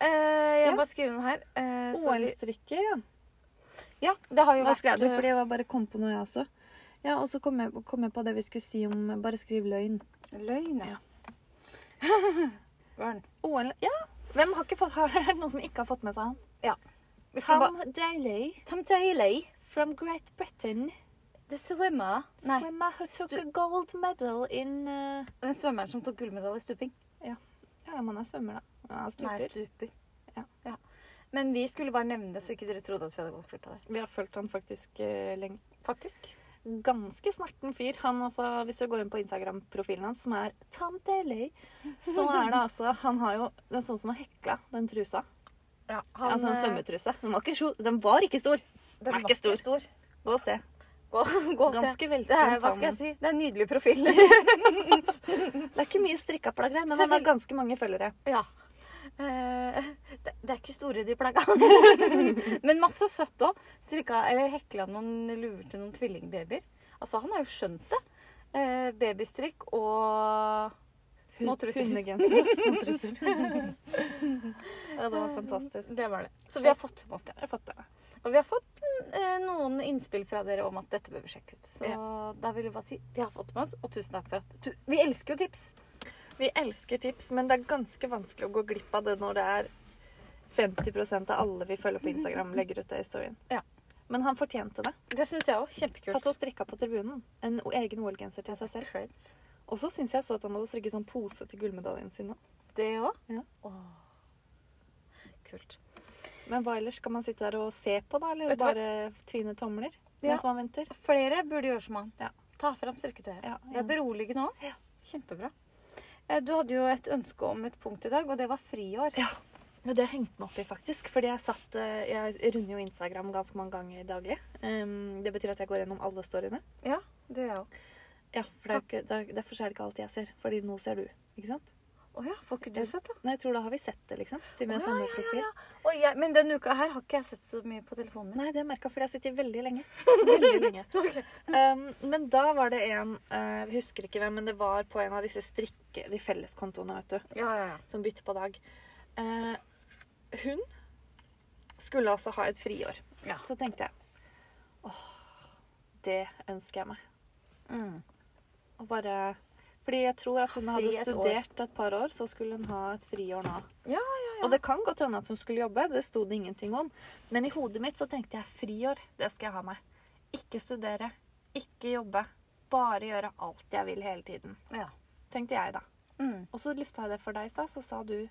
Speaker 2: Eh, jeg
Speaker 1: Ja.
Speaker 2: bare skriver den her. eh, så vi-
Speaker 1: OL-strikker, ja.
Speaker 2: Ja, det har jo
Speaker 1: Da
Speaker 2: vært
Speaker 1: skrev du, fordi jeg var bare kom på noe, jeg også. Ja, og så kom jeg, kom jeg på det vi skulle si om Bare skriv løgn.
Speaker 2: eh, løgn.
Speaker 1: Ja.
Speaker 2: Ja. Ørn.
Speaker 1: OL Ja! Hvem har ikke fått, har, er det noen som ikke har fått med seg han?
Speaker 2: Vi skal
Speaker 1: Tom
Speaker 2: bare
Speaker 1: Daly
Speaker 2: Tom Daly,
Speaker 1: from Great Britain.
Speaker 2: the swimmer Nei,
Speaker 1: Swimmer who took a gold medal in uh,
Speaker 2: den svømmeren som tok gullmedalje i stuping.
Speaker 1: Ja, man er svømmer, da. Ja,
Speaker 2: Nei,
Speaker 1: stuper.
Speaker 2: stuper.
Speaker 1: Ja.
Speaker 2: Ja. Men vi skulle bare nevne det, så ikke dere trodde at vi hadde gått glipp av det.
Speaker 1: Vi har fulgt han faktisk eh, lenge.
Speaker 2: Faktisk.
Speaker 1: ganske snerten fyr. Han, altså, hvis dere går inn på Instagram-profilen hans, som er Tom Daly, så er det altså Han har jo den sånn som har hekla den trusa.
Speaker 2: Ja, eh,
Speaker 1: altså en svømmetruse. Den var ikke, stor- den var ikke stor.
Speaker 2: Den
Speaker 1: er
Speaker 2: var
Speaker 1: ikke
Speaker 2: ikke stor.
Speaker 1: Gå og se.
Speaker 2: Gå, gå og se.
Speaker 1: Ganske
Speaker 2: Det er,
Speaker 1: velfunnet.
Speaker 2: hva skal jeg si? Det er en nydelig profil.
Speaker 1: Det er ikke mye strikka plagg der, men
Speaker 2: Så
Speaker 1: han har
Speaker 2: vel-
Speaker 1: ganske mange følgere.
Speaker 2: ja. Eh, det, det er ikke store de plagga. Men masse søtt òg. Strikka eller hekla noen luer til noen tvillingbabyer. Altså, han har jo skjønt det. Eh, babystrikk og små truser.
Speaker 1: Hundegenser. Små truser. ja, det var fantastisk.
Speaker 2: Det var det. Så vi har fått med oss det.
Speaker 1: Jeg har fått det.
Speaker 2: Og vi har fått eh, noen innspill fra dere om at dette bør vi sjekke ut. Så da vil jeg bare si vi har fått med oss, og tusen takk for at tu Vi elsker jo tips!
Speaker 1: Vi elsker tips, men det er ganske vanskelig å gå glipp av det når det er 50 av alle vi følger på Instagram, legger ut det i storyen.
Speaker 2: Ja.
Speaker 1: Men han fortjente det.
Speaker 2: Det syns jeg òg. Kjempekult.
Speaker 1: Satt og strikka på tribunen. En egen OL-genser til seg selv.
Speaker 2: Creds.
Speaker 1: Og så syns jeg så at han hadde strikket sånn pose til gullmedaljen sin òg.
Speaker 2: Det òg?
Speaker 1: Ja.
Speaker 2: Åh. Kult.
Speaker 1: Men hva ellers? Skal man sitte der og se på, da? Eller
Speaker 2: Vet du hva?
Speaker 1: bare tvine tomler
Speaker 2: Ja.
Speaker 1: mens man venter?
Speaker 2: Flere burde gjøre som han.
Speaker 1: Ja.
Speaker 2: Ta fram strikketøyet.
Speaker 1: Ja,
Speaker 2: Det er beroligende òg.
Speaker 1: Ja.
Speaker 2: Kjempebra. Eh, Du hadde jo et ønske om et punkt i dag, og det var friår.
Speaker 1: Ja. Men det hengte meg opp i, faktisk. Fordi jeg satt eh, Jeg runder jo Instagram ganske mange ganger daglig. Ehm, Det betyr at jeg går gjennom alle storyene.
Speaker 2: Ja, det gjør jeg òg.
Speaker 1: Ja, for det er jo ikke, det er, Derfor er det ikke alt jeg ser. Fordi nå ser du. Ikke sant?
Speaker 2: Å ja, får ikke du
Speaker 1: Jeg-
Speaker 2: sett, da?
Speaker 1: Nei, jeg tror da har vi sett det, liksom. Siden vi har
Speaker 2: Å,
Speaker 1: samme profil.
Speaker 2: Å, jeg, men denne uka her har ikke jeg sett så mye på telefonen min.
Speaker 1: Nei, det merka jeg fordi jeg har sittet veldig lenge. Veldig lenge.
Speaker 2: Ok.
Speaker 1: Um, men da var det en eh, Jeg husker ikke hvem, men det var på en av disse strikke... De felleskontoene, vet du.
Speaker 2: Ja, ja, ja.
Speaker 1: Som bytter på dag. Eh, hun skulle altså ha et friår.
Speaker 2: Ja.
Speaker 1: Så tenkte jeg åh, det ønsker jeg meg.
Speaker 2: Mm.
Speaker 1: Og bare Fordi jeg tror at hun
Speaker 2: Ha fri
Speaker 1: hadde
Speaker 2: et år.
Speaker 1: studert et par år, så skulle hun ha et friår nå.
Speaker 2: Ja,
Speaker 1: Og det kan godt hende at hun skulle jobbe, det sto det ingenting om. Men i hodet mitt så tenkte jeg friår, det skal jeg ha meg. Ikke studere, ikke jobbe. Bare gjøre alt jeg vil hele tiden.
Speaker 2: ja.
Speaker 1: Tenkte jeg, da.
Speaker 2: Mm.
Speaker 1: Og så lufta jeg det for deg i stad, så sa du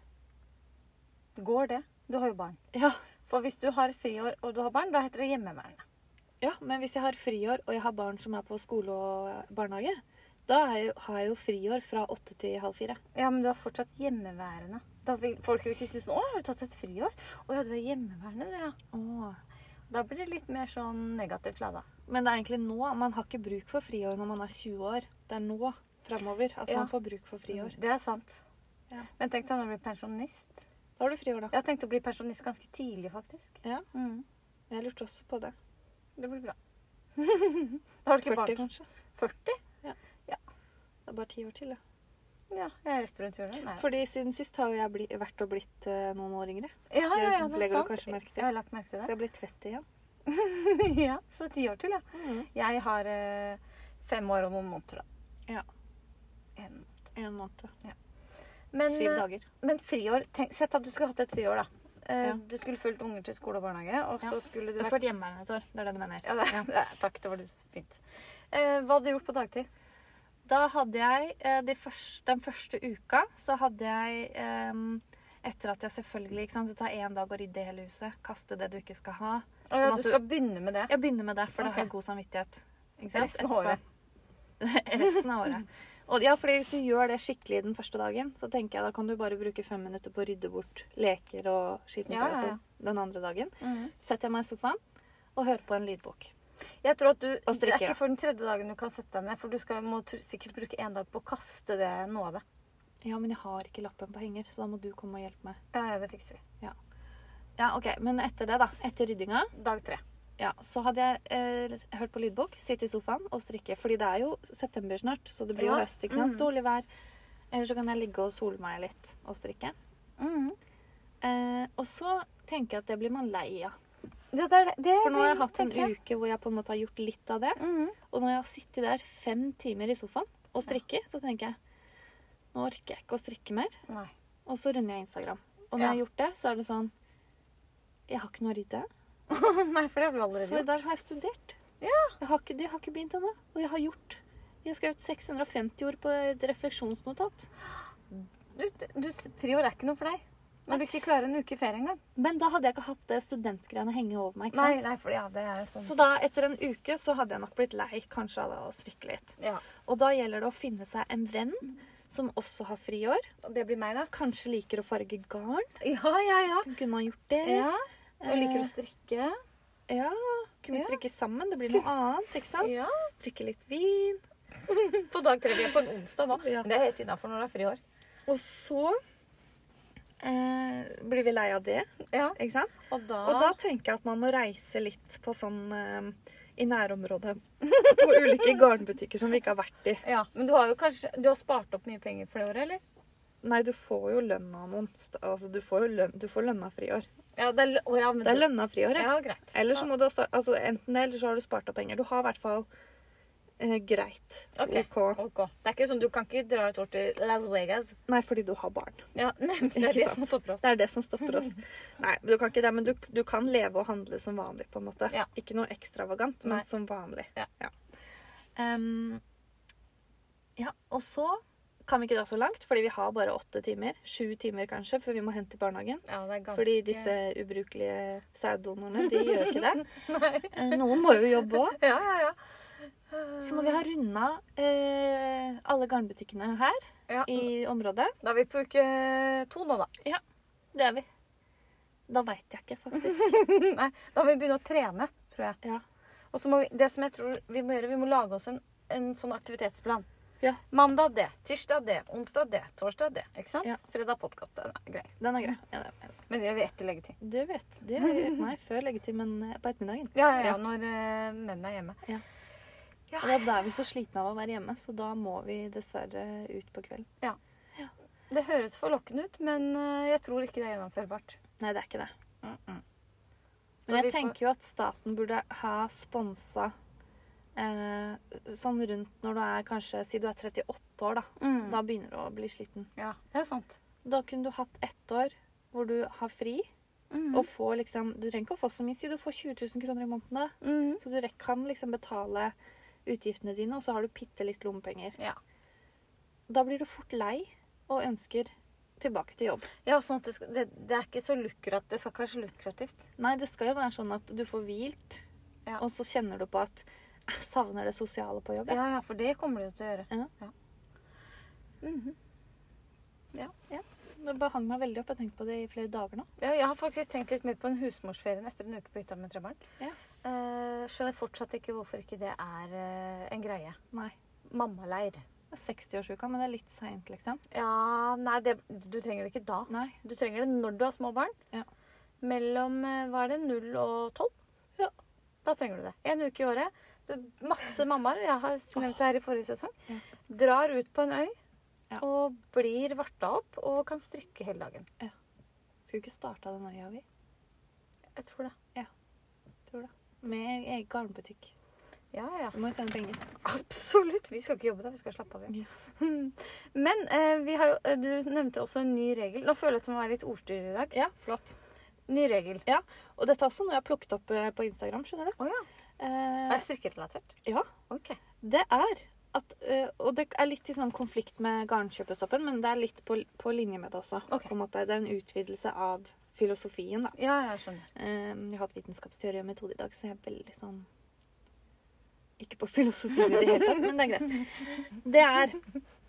Speaker 2: Går det? Du har jo barn.
Speaker 1: ja,
Speaker 2: For hvis du har et friår og du har barn, da heter det hjemmeværende.
Speaker 1: ja, men hvis jeg har friår og jeg har barn som er på skole og barnehage, da er jeg, jo- har jeg jo friår fra åtte til halv fire.
Speaker 2: Ja, men du er fortsatt hjemmeværende. Da vil folk vil ikke si sånn 'Å, har du tatt et friår?' 'Å ja, du er hjemmeværende, du, ja.'
Speaker 1: Åh.
Speaker 2: Da blir det litt mer sånn negativt lada.
Speaker 1: Men det er egentlig nå. Man har ikke bruk for friår når man er 20 år. Det er nå framover at
Speaker 2: Ja.
Speaker 1: man får bruk for friår.
Speaker 2: Det er sant.
Speaker 1: Ja.
Speaker 2: Men tenk deg når du blir pensjonist.
Speaker 1: Da har du friår, da.
Speaker 2: Jeg har tenkt å bli pensjonist ganske tidlig, faktisk.
Speaker 1: Ja.
Speaker 2: Mm.
Speaker 1: Jeg lurte også på det.
Speaker 2: Det blir bra. da har du
Speaker 1: 40,
Speaker 2: ikke barn.
Speaker 1: kanskje.
Speaker 2: 40?
Speaker 1: Det er bare ti år til, da.
Speaker 2: Ja, jeg er rett rundt hjørnet. Nei.
Speaker 1: Fordi siden sist har jo jeg bli, vært og blitt eh, noen år yngre.
Speaker 2: Ja, ja, ja, det er
Speaker 1: sånn Legger du
Speaker 2: sant.
Speaker 1: kanskje merke til?
Speaker 2: Jeg har lagt merke til
Speaker 1: Så
Speaker 2: det.
Speaker 1: jeg blir 30 igjen.
Speaker 2: ja, så ti år til, ja.
Speaker 1: Mm.
Speaker 2: Jeg har eh, fem år og noen måneder, da.
Speaker 1: Ja.
Speaker 2: En.
Speaker 1: En måned.
Speaker 2: Men,
Speaker 1: Syv
Speaker 2: eh,
Speaker 1: dager.
Speaker 2: men friår tenk, Sett at du skulle hatt et friår, da. Eh,
Speaker 1: Ja.
Speaker 2: Du skulle fulgt unger til skole og barnehage, og
Speaker 1: Ja.
Speaker 2: så skulle du
Speaker 1: Jeg
Speaker 2: vært
Speaker 1: skulle vært hjemmeværende et år. Det er det du mener.
Speaker 2: ja, det, ja, Takk, det var du fint. Eh, hva hadde du gjort på dagtid?
Speaker 1: Da hadde jeg eh, de først- Den første uka så hadde jeg em, etter at jeg selvfølgelig ikke sant, Det tar én dag å rydde i hele huset. Kaste det du ikke skal ha.
Speaker 2: Å ja,
Speaker 1: Sånn at
Speaker 2: du
Speaker 1: du-
Speaker 2: skal begynne med det.
Speaker 1: Jeg begynner med det, for da har
Speaker 2: Ok.
Speaker 1: jeg god samvittighet. Ikke
Speaker 2: Resten av året.
Speaker 1: Etterpå- Resten av året. Og ja, fordi Hvis du gjør det skikkelig den første dagen, så tenker jeg da kan du bare bruke fem minutter på å rydde bort leker og skittent
Speaker 2: Ja, ja, ja.
Speaker 1: og sånn den andre dagen.
Speaker 2: Mhm.
Speaker 1: Setter jeg meg i sofaen og hører på en lydbok.
Speaker 2: Jeg tror at du,
Speaker 1: Og
Speaker 2: Det
Speaker 1: strikke,
Speaker 2: er ikke
Speaker 1: ja.
Speaker 2: for den tredje dagen du kan sette deg ned, for du skal, må tr sikkert bruke en dag på å kaste det, noe av det.
Speaker 1: Ja, men jeg har ikke lappen på henger, så da må du komme og hjelpe meg.
Speaker 2: Ja, ja, det fikser vi.
Speaker 1: Ja, ok, Men etter det, da. Etter ryddinga,
Speaker 2: Dag tre.
Speaker 1: ja, så hadde jeg eh, hørt på lydbok, sitte i sofaen og strikke. Fordi det er jo september snart, så det blir jo
Speaker 2: Ja.
Speaker 1: høst. ikke sant?
Speaker 2: Mhm.
Speaker 1: Dårlig vær. Eller så kan jeg ligge og sole meg litt og strikke.
Speaker 2: Mhm.
Speaker 1: Eh, og så tenker jeg at det blir man lei av.
Speaker 2: Ja, det er det. det
Speaker 1: For nå har jeg hatt en
Speaker 2: tenker jeg.
Speaker 1: uke hvor jeg på en måte har gjort litt av det.
Speaker 2: Mhm.
Speaker 1: Og når jeg har sittet der fem timer i sofaen og strikker, så tenker jeg nå orker jeg ikke å strikke mer.
Speaker 2: Nei.
Speaker 1: Og så runder jeg Instagram. Og når
Speaker 2: Ja.
Speaker 1: jeg har gjort det, så er det sånn Jeg har ikke noe å rydde.
Speaker 2: Nei, for det har du allerede
Speaker 1: Så i
Speaker 2: gjort.
Speaker 1: dag har jeg studert. Jeg har ikke, det har ikke begynt ennå. Og jeg har gjort Jeg har skrevet 650 ord på et refleksjonsnotat.
Speaker 2: Du, du, friår er ikke noe for deg. Når du ikke klarer en uke i ferie engang.
Speaker 1: Men da hadde jeg ikke hatt det studentgreiene henge over meg. ikke sant?
Speaker 2: Nei, nei, for ja, det er sånn.
Speaker 1: Så da, etter en uke, så hadde jeg nok blitt lei kanskje av det å strikke litt.
Speaker 2: Ja.
Speaker 1: Og da gjelder det å finne seg en venn som også har friår.
Speaker 2: Og det blir meg, da.
Speaker 1: Kanskje liker å farge garn.
Speaker 2: Ja, ja, ja.
Speaker 1: Kunne man gjort det?
Speaker 2: ja. Og liker å strikke.
Speaker 1: Ja. Kunne vi
Speaker 2: Ja.
Speaker 1: strikke sammen? Det blir noe annet. ikke sant?
Speaker 2: Ja,
Speaker 1: Drikke litt vin.
Speaker 2: På dag tre. Vi er på en onsdag nå.
Speaker 1: Ja.
Speaker 2: Men det er helt innafor når det er friår.
Speaker 1: Og så eh, blir vi lei av det,
Speaker 2: Ja.
Speaker 1: ikke sant?
Speaker 2: Og da,
Speaker 1: Og da tenker jeg at man må reise litt på sånn eh, i nærområdet. På ulike garnbutikker som vi ikke har vært i.
Speaker 2: ja, Men du har jo kanskje Du har spart opp mye penger for det året, eller?
Speaker 1: Nei, du får jo lønna noen st- Altså, du får jo lønn, du får lønna friår.
Speaker 2: Ja, det er, lø- å, ja, men
Speaker 1: Det er
Speaker 2: du-
Speaker 1: lønna friår, ja.
Speaker 2: Ja, greit.
Speaker 1: Eller så må du også altså, Enten det, eller så har du spart opp penger. Du har i hvert fall eh, greit.
Speaker 2: Ok.
Speaker 1: OK.
Speaker 2: Ok. Det er ikke sånn, Du kan ikke dra et år til Las Vegas.
Speaker 1: Nei, fordi du har barn.
Speaker 2: Ja, nemlig,
Speaker 1: Ikke
Speaker 2: Det er det
Speaker 1: sant.
Speaker 2: som stopper oss.
Speaker 1: Det er det som stopper oss. Nei, du kan ikke det, men du, du kan leve og handle som vanlig, på en måte.
Speaker 2: Ja.
Speaker 1: Ikke noe ekstravagant, men
Speaker 2: Nei.
Speaker 1: som vanlig.
Speaker 2: Ja.
Speaker 1: Em, ja, og så kan vi ikke dra så langt, fordi vi har bare åtte timer. Sju timer kanskje, før vi må hente i barnehagen.
Speaker 2: Ja, det er ganske...
Speaker 1: Fordi disse ubrukelige sæddonorene, de gjør ikke det. Eh, Noen må jo jobbe òg.
Speaker 2: Ja, ja, ja.
Speaker 1: Så når vi har runda eh, alle garnbutikkene her
Speaker 2: ja.
Speaker 1: i området
Speaker 2: Da er vi på uke to nå, da.
Speaker 1: Det er vi. Da veit jeg ikke, faktisk.
Speaker 2: Nei, da må vi begynne å trene, tror jeg.
Speaker 1: Ja.
Speaker 2: Og så må vi, det som jeg tror vi må gjøre, vi må lage oss en, en sånn aktivitetsplan.
Speaker 1: Ja.
Speaker 2: Mandag det, tirsdag det, onsdag det, torsdag det. ikke sant?
Speaker 1: Ja.
Speaker 2: Fredag podkast. Det er greit.
Speaker 1: Den er grei. Ja, det er
Speaker 2: Men det gjør vi etter leggetid.
Speaker 1: Du vet. Det er nei, før leggetid, men eh, på ettermiddagen.
Speaker 2: Ja, ja, ja,
Speaker 1: Ja.
Speaker 2: når eh, menn er hjemme.
Speaker 1: Og da- da er vi så slitne av å være hjemme, så da må vi dessverre ut på kvelden.
Speaker 2: Det høres forlokkende ut, men eh, jeg tror ikke det er gjennomførbart.
Speaker 1: Nei, det er ikke det.
Speaker 2: Så
Speaker 1: Men jeg
Speaker 2: vi får-
Speaker 1: tenker jo at staten burde ha sponsa eh, sånn rundt når du er kanskje Si du er 38 år, da.
Speaker 2: Mm.
Speaker 1: Da begynner du å bli sliten.
Speaker 2: Ja, det er sant.
Speaker 1: Da kunne du hatt ett år hvor du har fri
Speaker 2: Mm.
Speaker 1: og får liksom Du trenger ikke å få så mye, si du får 20 000 kroner i måneden da.
Speaker 2: Mm.
Speaker 1: Så du rek- kan liksom betale utgiftene dine, og så har du bitte litt lommepenger.
Speaker 2: Ja.
Speaker 1: Da blir du fort lei og ønsker tilbake til jobb.
Speaker 2: ja, sånn at det, skal, det, det er ikke så lukrat, det skal ikke være så lukrativt.
Speaker 1: Nei, det skal jo være sånn at du får hvilt,
Speaker 2: Ja.
Speaker 1: og så kjenner du på at jeg savner det sosiale på jobb. jeg».
Speaker 2: Ja, ja, for det kommer det jo til å gjøre.
Speaker 1: Ja.
Speaker 2: Mhm.
Speaker 1: Det bare hang meg veldig opp. Jeg har tenkt på det i flere dager nå.
Speaker 2: Ja, jeg har faktisk tenkt litt mer på en husmorsferie enn etter en uke på hytta med tre barn.
Speaker 1: Ja.
Speaker 2: Eh, skjønner fortsatt ikke hvorfor ikke det er eh, en greie.
Speaker 1: Nei.
Speaker 2: Mammaleir.
Speaker 1: Det er 60-årsuka, men det er litt seint, liksom.
Speaker 2: Ja, nei, det, du trenger det ikke da.
Speaker 1: Nei.
Speaker 2: Du trenger det når du har små barn.
Speaker 1: Ja.
Speaker 2: Mellom eh, hva er det, 0 og 12.
Speaker 1: Ja.
Speaker 2: Da trenger du det. En uke i året. Du, masse mammaer. Jeg har nevnt det her i forrige sesong.
Speaker 1: Ja.
Speaker 2: Drar ut på en øy
Speaker 1: Ja.
Speaker 2: og blir varta opp og kan strikke hele dagen.
Speaker 1: Skulle ikke starta den øya vi,
Speaker 2: Jeg tror det.
Speaker 1: tror jeg. Med egen garnbutikk.
Speaker 2: Ja, ja.
Speaker 1: Du må jo tjene penger.
Speaker 2: Absolutt. Vi skal ikke jobbe der, vi skal slappe av. Ja. Men eh, vi har jo, eh, du nevnte også en ny regel. Nå føler jeg at jeg må være litt ordstyrer i dag.
Speaker 1: Ja, flott.
Speaker 2: Ny regel.
Speaker 1: Og dette er også noe jeg har plukket opp eh, på Instagram, skjønner du.
Speaker 2: Å ja. Er
Speaker 1: Eh,
Speaker 2: det strikkerelatert?
Speaker 1: ja.
Speaker 2: OK.
Speaker 1: Det er at eh, Og det er litt i sånn konflikt med garnkjøpestoppen, men det er litt på, på linje med det også.
Speaker 2: Ok.
Speaker 1: På en måte. Det er en utvidelse av filosofien, da.
Speaker 2: Ja, jeg skjønner.
Speaker 1: Eh, Jeg har hatt vitenskapsteori og metode i dag, så jeg er veldig sånn Ikke på filosofien i det hele tatt, men det er greit. Det er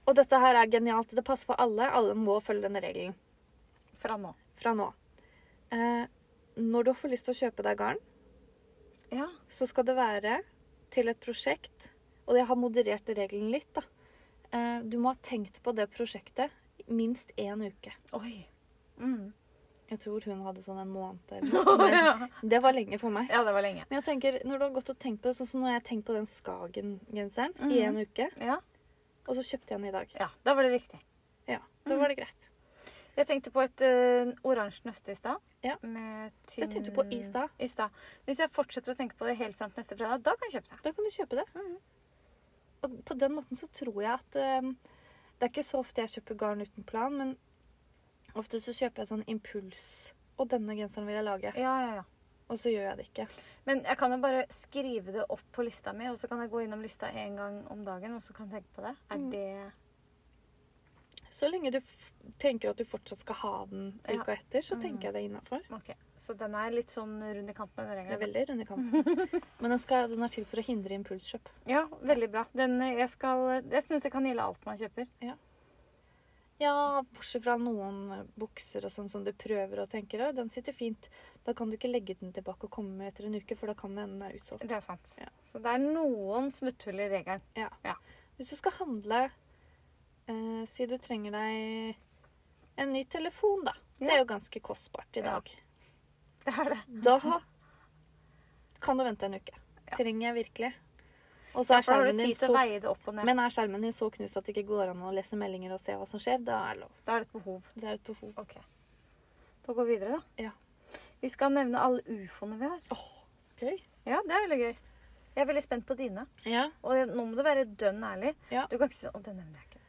Speaker 1: Og dette her er genialt. Det passer for alle. Alle må følge denne regelen
Speaker 2: Fra nå.
Speaker 1: fra nå. Eh, Når du får lyst til å kjøpe deg garn,
Speaker 2: Ja.
Speaker 1: så skal det være til et prosjekt Og jeg har moderert regelen litt, da. Eh, Du må ha tenkt på det prosjektet minst én uke.
Speaker 2: Oi. Mm.
Speaker 1: Jeg tror hun hadde sånn en måned eller noe. Men det var lenge for meg.
Speaker 2: Ja, det var lenge.
Speaker 1: Men jeg tenker, når du har gått og tenkt på det, sånn som når jeg har tenkt på den Skagen-genseren i
Speaker 2: Mhm.
Speaker 1: en uke,
Speaker 2: Ja.
Speaker 1: og så kjøpte jeg den i dag.
Speaker 2: ja. Da var det riktig.
Speaker 1: Ja,
Speaker 2: Mhm.
Speaker 1: da var det greit.
Speaker 2: Jeg tenkte på et eh, oransje nøste i stad.
Speaker 1: Ja.
Speaker 2: Med
Speaker 1: Jeg tenkte på i stad.
Speaker 2: I stad. Hvis jeg fortsetter å tenke på det helt fram til neste fredag, da kan jeg kjøpe det.
Speaker 1: Da kan du kjøpe det.
Speaker 2: Mhm.
Speaker 1: Og på den måten så tror jeg at øhm, Det er ikke så ofte jeg kjøper garn uten plan, men ofte så kjøper jeg sånn impuls. Og denne genseren vil jeg lage.
Speaker 2: Ja, ja, ja.
Speaker 1: Og så gjør jeg det ikke.
Speaker 2: Men jeg kan jo bare skrive det opp på lista mi, og så kan jeg gå innom lista én gang om dagen og så kan jeg tenke på det. Er
Speaker 1: Mm.
Speaker 2: det
Speaker 1: Så lenge du f tenker at du fortsatt skal ha den
Speaker 2: Ja.
Speaker 1: uka etter, så
Speaker 2: Mhm.
Speaker 1: tenker jeg det er innafor.
Speaker 2: OK. Så den er litt sånn rund i kanten, den
Speaker 1: Det er
Speaker 2: regelen.
Speaker 1: veldig rund i kanten. Men den, skal, den er til for å hindre impulskjøp.
Speaker 2: Ja, veldig bra. Den, eh, jeg skal, jeg syns jeg kan gjelde alt man kjøper.
Speaker 1: Ja, bortsett fra noen bukser og sånn som du prøver og tenker «Å, den sitter fint. Da kan du ikke legge den tilbake og komme med etter en uke, for da kan den ende er utsolgt.
Speaker 2: Det er sant.
Speaker 1: Ja.
Speaker 2: Så det er noen smutthull i regelen.
Speaker 1: Hvis du skal handle eh, Si du trenger deg en ny telefon, da. Det
Speaker 2: Ja.
Speaker 1: er jo ganske kostbart i
Speaker 2: Ja.
Speaker 1: dag.
Speaker 2: Det er det.
Speaker 1: Da kan du vente en uke.
Speaker 2: Ja.
Speaker 1: Trenger jeg virkelig? Og så er
Speaker 2: For da har
Speaker 1: skjermen
Speaker 2: du
Speaker 1: din
Speaker 2: tid til å
Speaker 1: så
Speaker 2: veie det opp og ned.
Speaker 1: Men er skjermen din så knust at det ikke går an å lese meldinger og se hva som skjer, da er det lov.
Speaker 2: Da er det et behov.
Speaker 1: Det er et behov.
Speaker 2: Ok. Da går vi videre, da.
Speaker 1: Ja.
Speaker 2: Vi skal nevne alle ufoene vi har.
Speaker 1: Gøy.
Speaker 2: Ja, det er veldig gøy. Jeg er veldig spent på dine.
Speaker 1: Ja.
Speaker 2: Og nå må du være dønn ærlig.
Speaker 1: Ja.
Speaker 2: Du kan ikke si sånn Å, den nevner jeg ikke.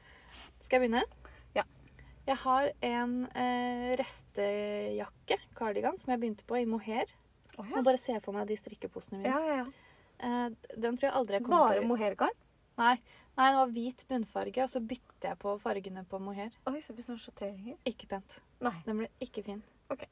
Speaker 1: Skal jeg begynne?
Speaker 2: Ja.
Speaker 1: Jeg har en eh, restejakke, cardigan, som jeg begynte på i mohair.
Speaker 2: Å,
Speaker 1: Nå bare ser jeg for meg de strikkeposene mine.
Speaker 2: ja. ja, ja,
Speaker 1: Eh, d- den tror jeg aldri jeg kommer
Speaker 2: Bare
Speaker 1: til å
Speaker 2: mohairgarn?
Speaker 1: Nei. Nei, det var hvit bunnfarge, og så bytter jeg på fargene på mohair.
Speaker 2: Oi, så blir det sånne sjatteringer. Mm.
Speaker 1: Ikke pent.
Speaker 2: Nei.
Speaker 1: Den ble ikke fin.
Speaker 2: Ok.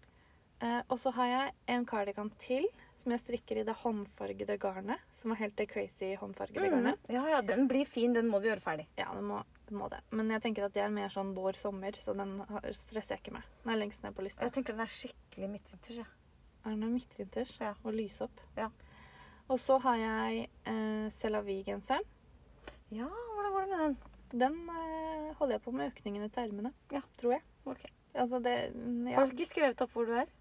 Speaker 1: Eh, og så har jeg en cardigan til, som jeg strikker i det håndfargede garnet. Som er helt det crazy håndfargede garnet.
Speaker 2: Mm. Ja, ja, den blir fin. Den må du gjøre ferdig.
Speaker 1: Ja, det må, det må det. Men jeg tenker at det er mer sånn vår-sommer, så den har- stresser jeg ikke med. Den er lengst ned på lista.
Speaker 2: Jeg tenker den er skikkelig midtvinters. Ja.
Speaker 1: Er den midtvinters
Speaker 2: Ja.
Speaker 1: og lysopp?
Speaker 2: Ja.
Speaker 1: Og så har jeg eh, Selavi-genseren.
Speaker 2: ja, hvordan går det med den?
Speaker 1: Den eh, holder jeg på med økningene til ermene.
Speaker 2: Ja.
Speaker 1: Tror jeg.
Speaker 2: Ok.
Speaker 1: Altså det mm, ja.
Speaker 2: Har du ikke skrevet opp hvor du er?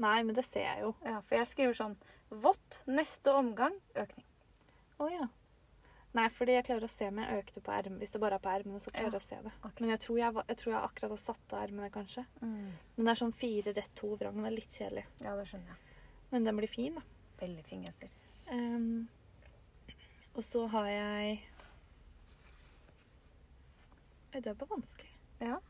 Speaker 1: Nei, men det ser jeg jo.
Speaker 2: Ja, For jeg skriver sånn Vått, neste omgang, økning.
Speaker 1: Å ja. Nei, fordi jeg klarer å se om jeg økte på ermene. Hvis det bare er på ermene, så klarer jeg
Speaker 2: Ja.
Speaker 1: å se det.
Speaker 2: Ok.
Speaker 1: Men jeg tror jeg, var- jeg tror jeg akkurat har satt av ermene, kanskje.
Speaker 2: Mm.
Speaker 1: Men det er sånn fire rett, to vrang. Det er litt kjedelig.
Speaker 2: Ja, det skjønner jeg.
Speaker 1: Men den blir fin, da.
Speaker 2: Veldig fin genser.
Speaker 1: Ehm, og så har jeg Oi, det er bare vanskelig.
Speaker 2: Ja.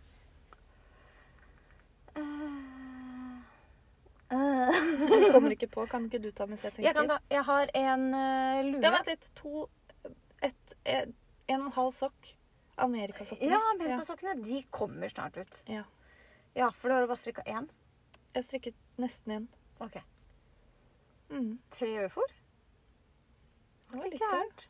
Speaker 2: Eh,
Speaker 1: Jeg kommer ikke på. Kan ikke du ta mens jeg tenker?
Speaker 2: jeg, kan ta, jeg har en eh, lue.
Speaker 1: Ja, vent litt. To et, et, En og en halv sokk. Amerikasokkene.
Speaker 2: Ja, Amerikasokkene de kommer snart ut.
Speaker 1: Ja.
Speaker 2: Ja, For da har du bare strikka én?
Speaker 1: Jeg strikket nesten en.
Speaker 2: Ok.
Speaker 1: Mm.
Speaker 2: Tre øyefor?
Speaker 1: Det var litt
Speaker 2: Ikke
Speaker 1: av.
Speaker 2: gærent.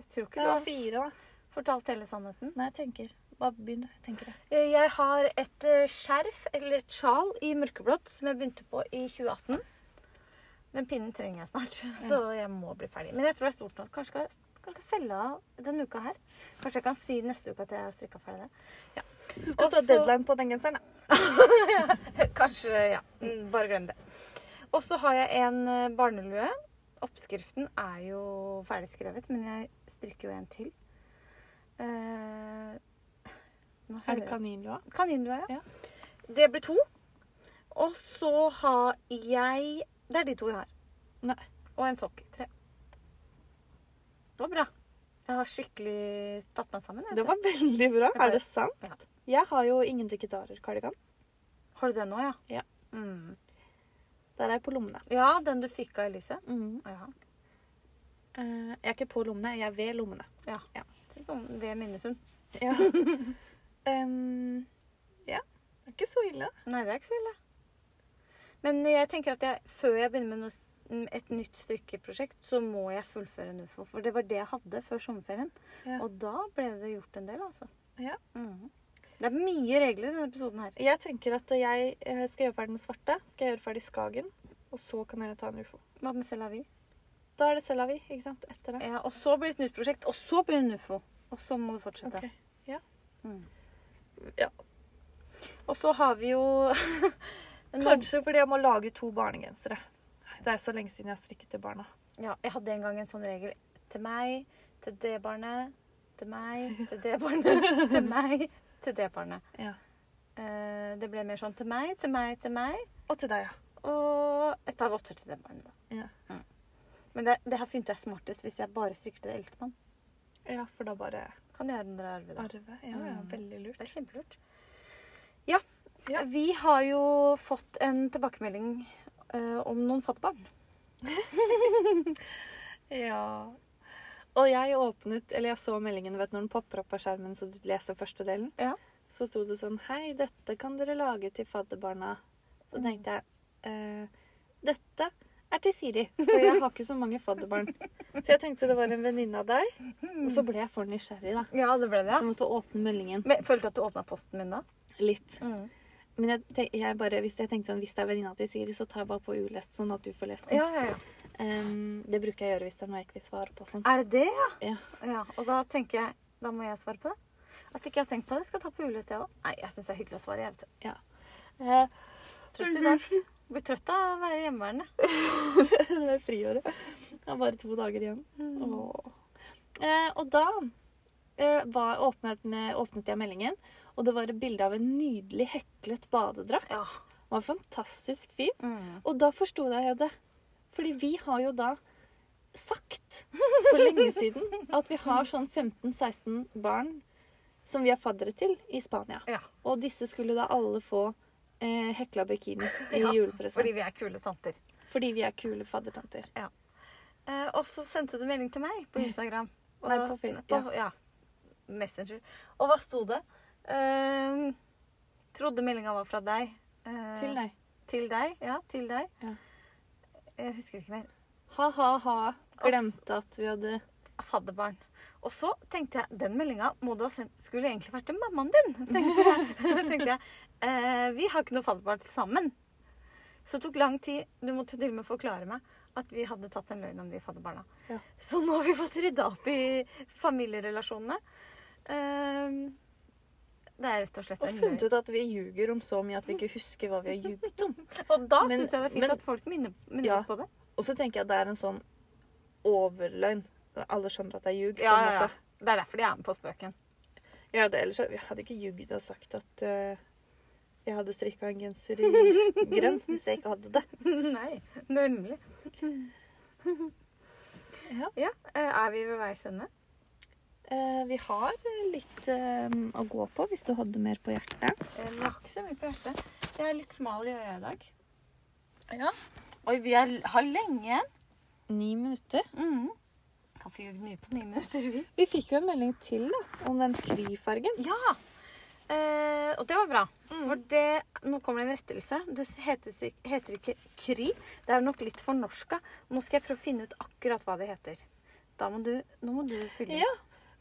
Speaker 2: Jeg tror ikke
Speaker 1: Det
Speaker 2: du
Speaker 1: var
Speaker 2: har
Speaker 1: fire, da.
Speaker 2: fortalt hele sannheten.
Speaker 1: Nei, jeg tenker. Bare begynn. Jeg tenker det.
Speaker 2: Eh, Jeg har et eh, skjerf, eller et sjal, i mørkeblått som jeg begynte på i 2018. Den pinnen trenger jeg snart, så jeg må bli ferdig. Men jeg tror det er stort nok. Kanskje skal, kanskje skal jeg felle av denne uka her. Kanskje jeg kan si neste uke at jeg har strikka ferdig det.
Speaker 1: Husk å ta
Speaker 2: Også-
Speaker 1: deadline på den genseren. da.
Speaker 2: Kanskje, ja. Mm, Bare glem det. Og så har jeg en eh, barnelue. Oppskriften er jo ferdigskrevet, men jeg strikker jo en til. Eh, nå
Speaker 1: Er det
Speaker 2: hører-
Speaker 1: kaninlua?
Speaker 2: Kaninlue, ja.
Speaker 1: Ja.
Speaker 2: Det blir to. Og så har jeg Det er de to jeg har.
Speaker 1: Nei.
Speaker 2: Og en sokk. Tre. Det var bra. Jeg har skikkelig tatt meg sammen. jeg,
Speaker 1: Det
Speaker 2: vet
Speaker 1: var veldig bra.
Speaker 2: Det var-
Speaker 1: Er det sant?
Speaker 2: Ja.
Speaker 1: Jeg har jo ingen gitarer-kardigan.
Speaker 2: du. Har du den nå, ja?
Speaker 1: Ja.
Speaker 2: Mm.
Speaker 1: Der er jeg på lommene.
Speaker 2: ja, den du fikk av Elise?
Speaker 1: Mm.
Speaker 2: Ja.
Speaker 1: Eh, jeg er ikke på lommene, jeg er ved lommene.
Speaker 2: Sånn Ved Minnesund.
Speaker 1: Ja. Em, ja. Det er ikke så ille.
Speaker 2: Nei, det er ikke så ille. Men jeg tenker at jeg, før jeg begynner med noe, s- m, et nytt strikkeprosjekt, så må jeg fullføre en UFO. For det var det jeg hadde før sommerferien.
Speaker 1: Ja.
Speaker 2: Og da ble det gjort en del, altså.
Speaker 1: Ja.
Speaker 2: Mhm. Det er mye regler i denne episoden her.
Speaker 1: Jeg tenker at jeg eh, skal gjøre ferdig den svarte, skal jeg gjøre ferdig Skagen, og så kan jeg ta en ufo.
Speaker 2: Hva med Selavi?
Speaker 1: Da er det Selavi, ikke sant? Etter det.
Speaker 2: Ja, og så blir det et nytt prosjekt, og så blir det en UFO. Og sånn må det fortsette.
Speaker 1: Ok. Ja.
Speaker 2: Mhm.
Speaker 1: Ja.
Speaker 2: Og så har vi jo Nå-
Speaker 1: Kanskje fordi jeg må lage to barnegensere. Det er så lenge siden jeg har strikket til barna.
Speaker 2: Ja, jeg hadde en gang en sånn regel. Til meg, til det barnet, til meg, til det barnet, til meg, til det barnet.
Speaker 1: Ja.
Speaker 2: Eh, det ble mer sånn til meg, til meg, til meg,
Speaker 1: Og til deg, ja.
Speaker 2: og et par votter til det barnet. da.
Speaker 1: Ja.
Speaker 2: Mm. Men det, det her finner jeg smartest hvis jeg bare strikker til eldstemann.
Speaker 1: Ja, for da bare
Speaker 2: Kan jeg gjøre den der arve, da?
Speaker 1: arve. Ja, ja,
Speaker 2: Mm.
Speaker 1: veldig lurt.
Speaker 2: Det er kjempelurt. Ja,
Speaker 1: Ja.
Speaker 2: vi har jo fått en tilbakemelding eh, om noen fattigbarn.
Speaker 1: Ja. Og jeg åpnet, eller jeg så meldingen vet, du, når den popper opp av skjermen, så du leser første delen.
Speaker 2: Ja.
Speaker 1: Så sto det sånn Hei,
Speaker 2: Mm.
Speaker 1: dette kan dere lage til fadderbarna. Så tenkte jeg eh, Dette er til Siri. For jeg har ikke så mange fadderbarn. Så jeg tenkte det var en venninne av deg. Og så ble jeg for nysgjerrig, da.
Speaker 2: Ja, det ble det.
Speaker 1: Så jeg måtte åpne meldingen
Speaker 2: Men, følte du at du åpna posten min da?
Speaker 1: litt.
Speaker 2: Mm.
Speaker 1: Men jeg, tenk, jeg bare, hvis jeg tenkte sånn, hvis det er venninna til Siri, så tar jeg bare på ulest, sånn at du får lest den.
Speaker 2: Ja, ja, ja.
Speaker 1: Em, det bruker jeg å gjøre hvis det er noe jeg ikke vil svare på. Sånn.
Speaker 2: Er det det, ja?
Speaker 1: Ja.
Speaker 2: Og da tenker jeg Da må jeg svare på det. At ikke jeg har tenkt på det, skal jeg ta på ulest, jeg òg. Nei, jeg syns det er hyggelig å svare. Jeg vet du.
Speaker 1: Ja.
Speaker 2: Eh, Trøtt i dag. Blir trøtt av å være hjemmeværende.
Speaker 1: Det er friåret. Det er bare to dager igjen.
Speaker 2: Mm.
Speaker 1: Åh. Eh, og da eh, var, åpnet, med, åpnet jeg meldingen, og det var et bilde av en nydelig heklet badedrakt.
Speaker 2: Ja. Mm.
Speaker 1: Den var fantastisk fin. Og da forsto jeg jo det. Fordi vi har jo da sagt for lenge siden at vi har sånn 15-16 barn som vi er faddere til i Spania.
Speaker 2: Ja.
Speaker 1: Og disse skulle da alle få eh, hekla bikini i
Speaker 2: Ja,
Speaker 1: julepresang. Fordi...
Speaker 2: Fordi vi er kule tanter.
Speaker 1: vi er kule faddertanter.
Speaker 2: Eh, og så sendte du melding til meg på Instagram. Og
Speaker 1: Nei,
Speaker 2: da-
Speaker 1: på Facebook,
Speaker 2: ja. Messenger. Og hva sto det? Eh, trodde meldinga var fra deg. Eh,
Speaker 1: Til deg.
Speaker 2: Til deg, ja. Til deg.
Speaker 1: Ja.
Speaker 2: Jeg husker ikke mer.
Speaker 1: Ha, ha, ha. Glemte at vi hadde
Speaker 2: Fadderbarn. Og så tenkte jeg, den meldinga må du ha sendt Skulle egentlig vært til mammaen din, tenkte jeg. tenkte jeg eh, vi har ikke noe fadderbarn sammen. Så det tok lang tid. Du måtte til og med forklare meg at vi hadde tatt en løgn om de fadderbarna.
Speaker 1: Ja.
Speaker 2: Så nå har vi fått rydda opp i familierelasjonene. Eh, det er rett og slett
Speaker 1: Og
Speaker 2: en
Speaker 1: funnet
Speaker 2: løgn.
Speaker 1: ut at vi ljuger om så mye at vi ikke husker hva vi har ljuget om.
Speaker 2: Og da
Speaker 1: Men-
Speaker 2: syns jeg det er fint
Speaker 1: men-
Speaker 2: at folk minner, minner
Speaker 1: Ja.
Speaker 2: oss på det.
Speaker 1: Og så tenker jeg at det er en sånn overløgn. Alle skjønner at det er ljug. på
Speaker 2: Ja,
Speaker 1: en
Speaker 2: ja,
Speaker 1: måte.
Speaker 2: ja. Det er derfor de er med på spøken.
Speaker 1: Ja, det, ellers så- jeg hadde ikke ljugd og sagt at eh, jeg hadde strikka en genser i grønn hvis jeg ikke hadde det.
Speaker 2: Nei, nemlig.
Speaker 1: Ja.
Speaker 2: ja. eh, Er vi ved veis ende?
Speaker 1: Eh, vi har eh, litt eh, å gå på hvis du hadde mer på hjertet.
Speaker 2: Eh, Vi har ikke så mye på hjertet. Jeg er litt smal i øya i dag. Ja. Oi, vi er, har lenge igjen.
Speaker 1: Ni minutter.
Speaker 2: Mm. Kan få jugd mye på ni minutter, vi.
Speaker 1: Vi fikk jo en melding til da, om den kryfargen.
Speaker 2: Ja! Eh, og det var bra. For det, nå kommer det en rettelse. Det heter, sik- heter ikke kri. Det er nok litt fornorska. Nå skal jeg prøve å finne ut akkurat hva det heter. Da må du, nå må du fylle
Speaker 1: Ja,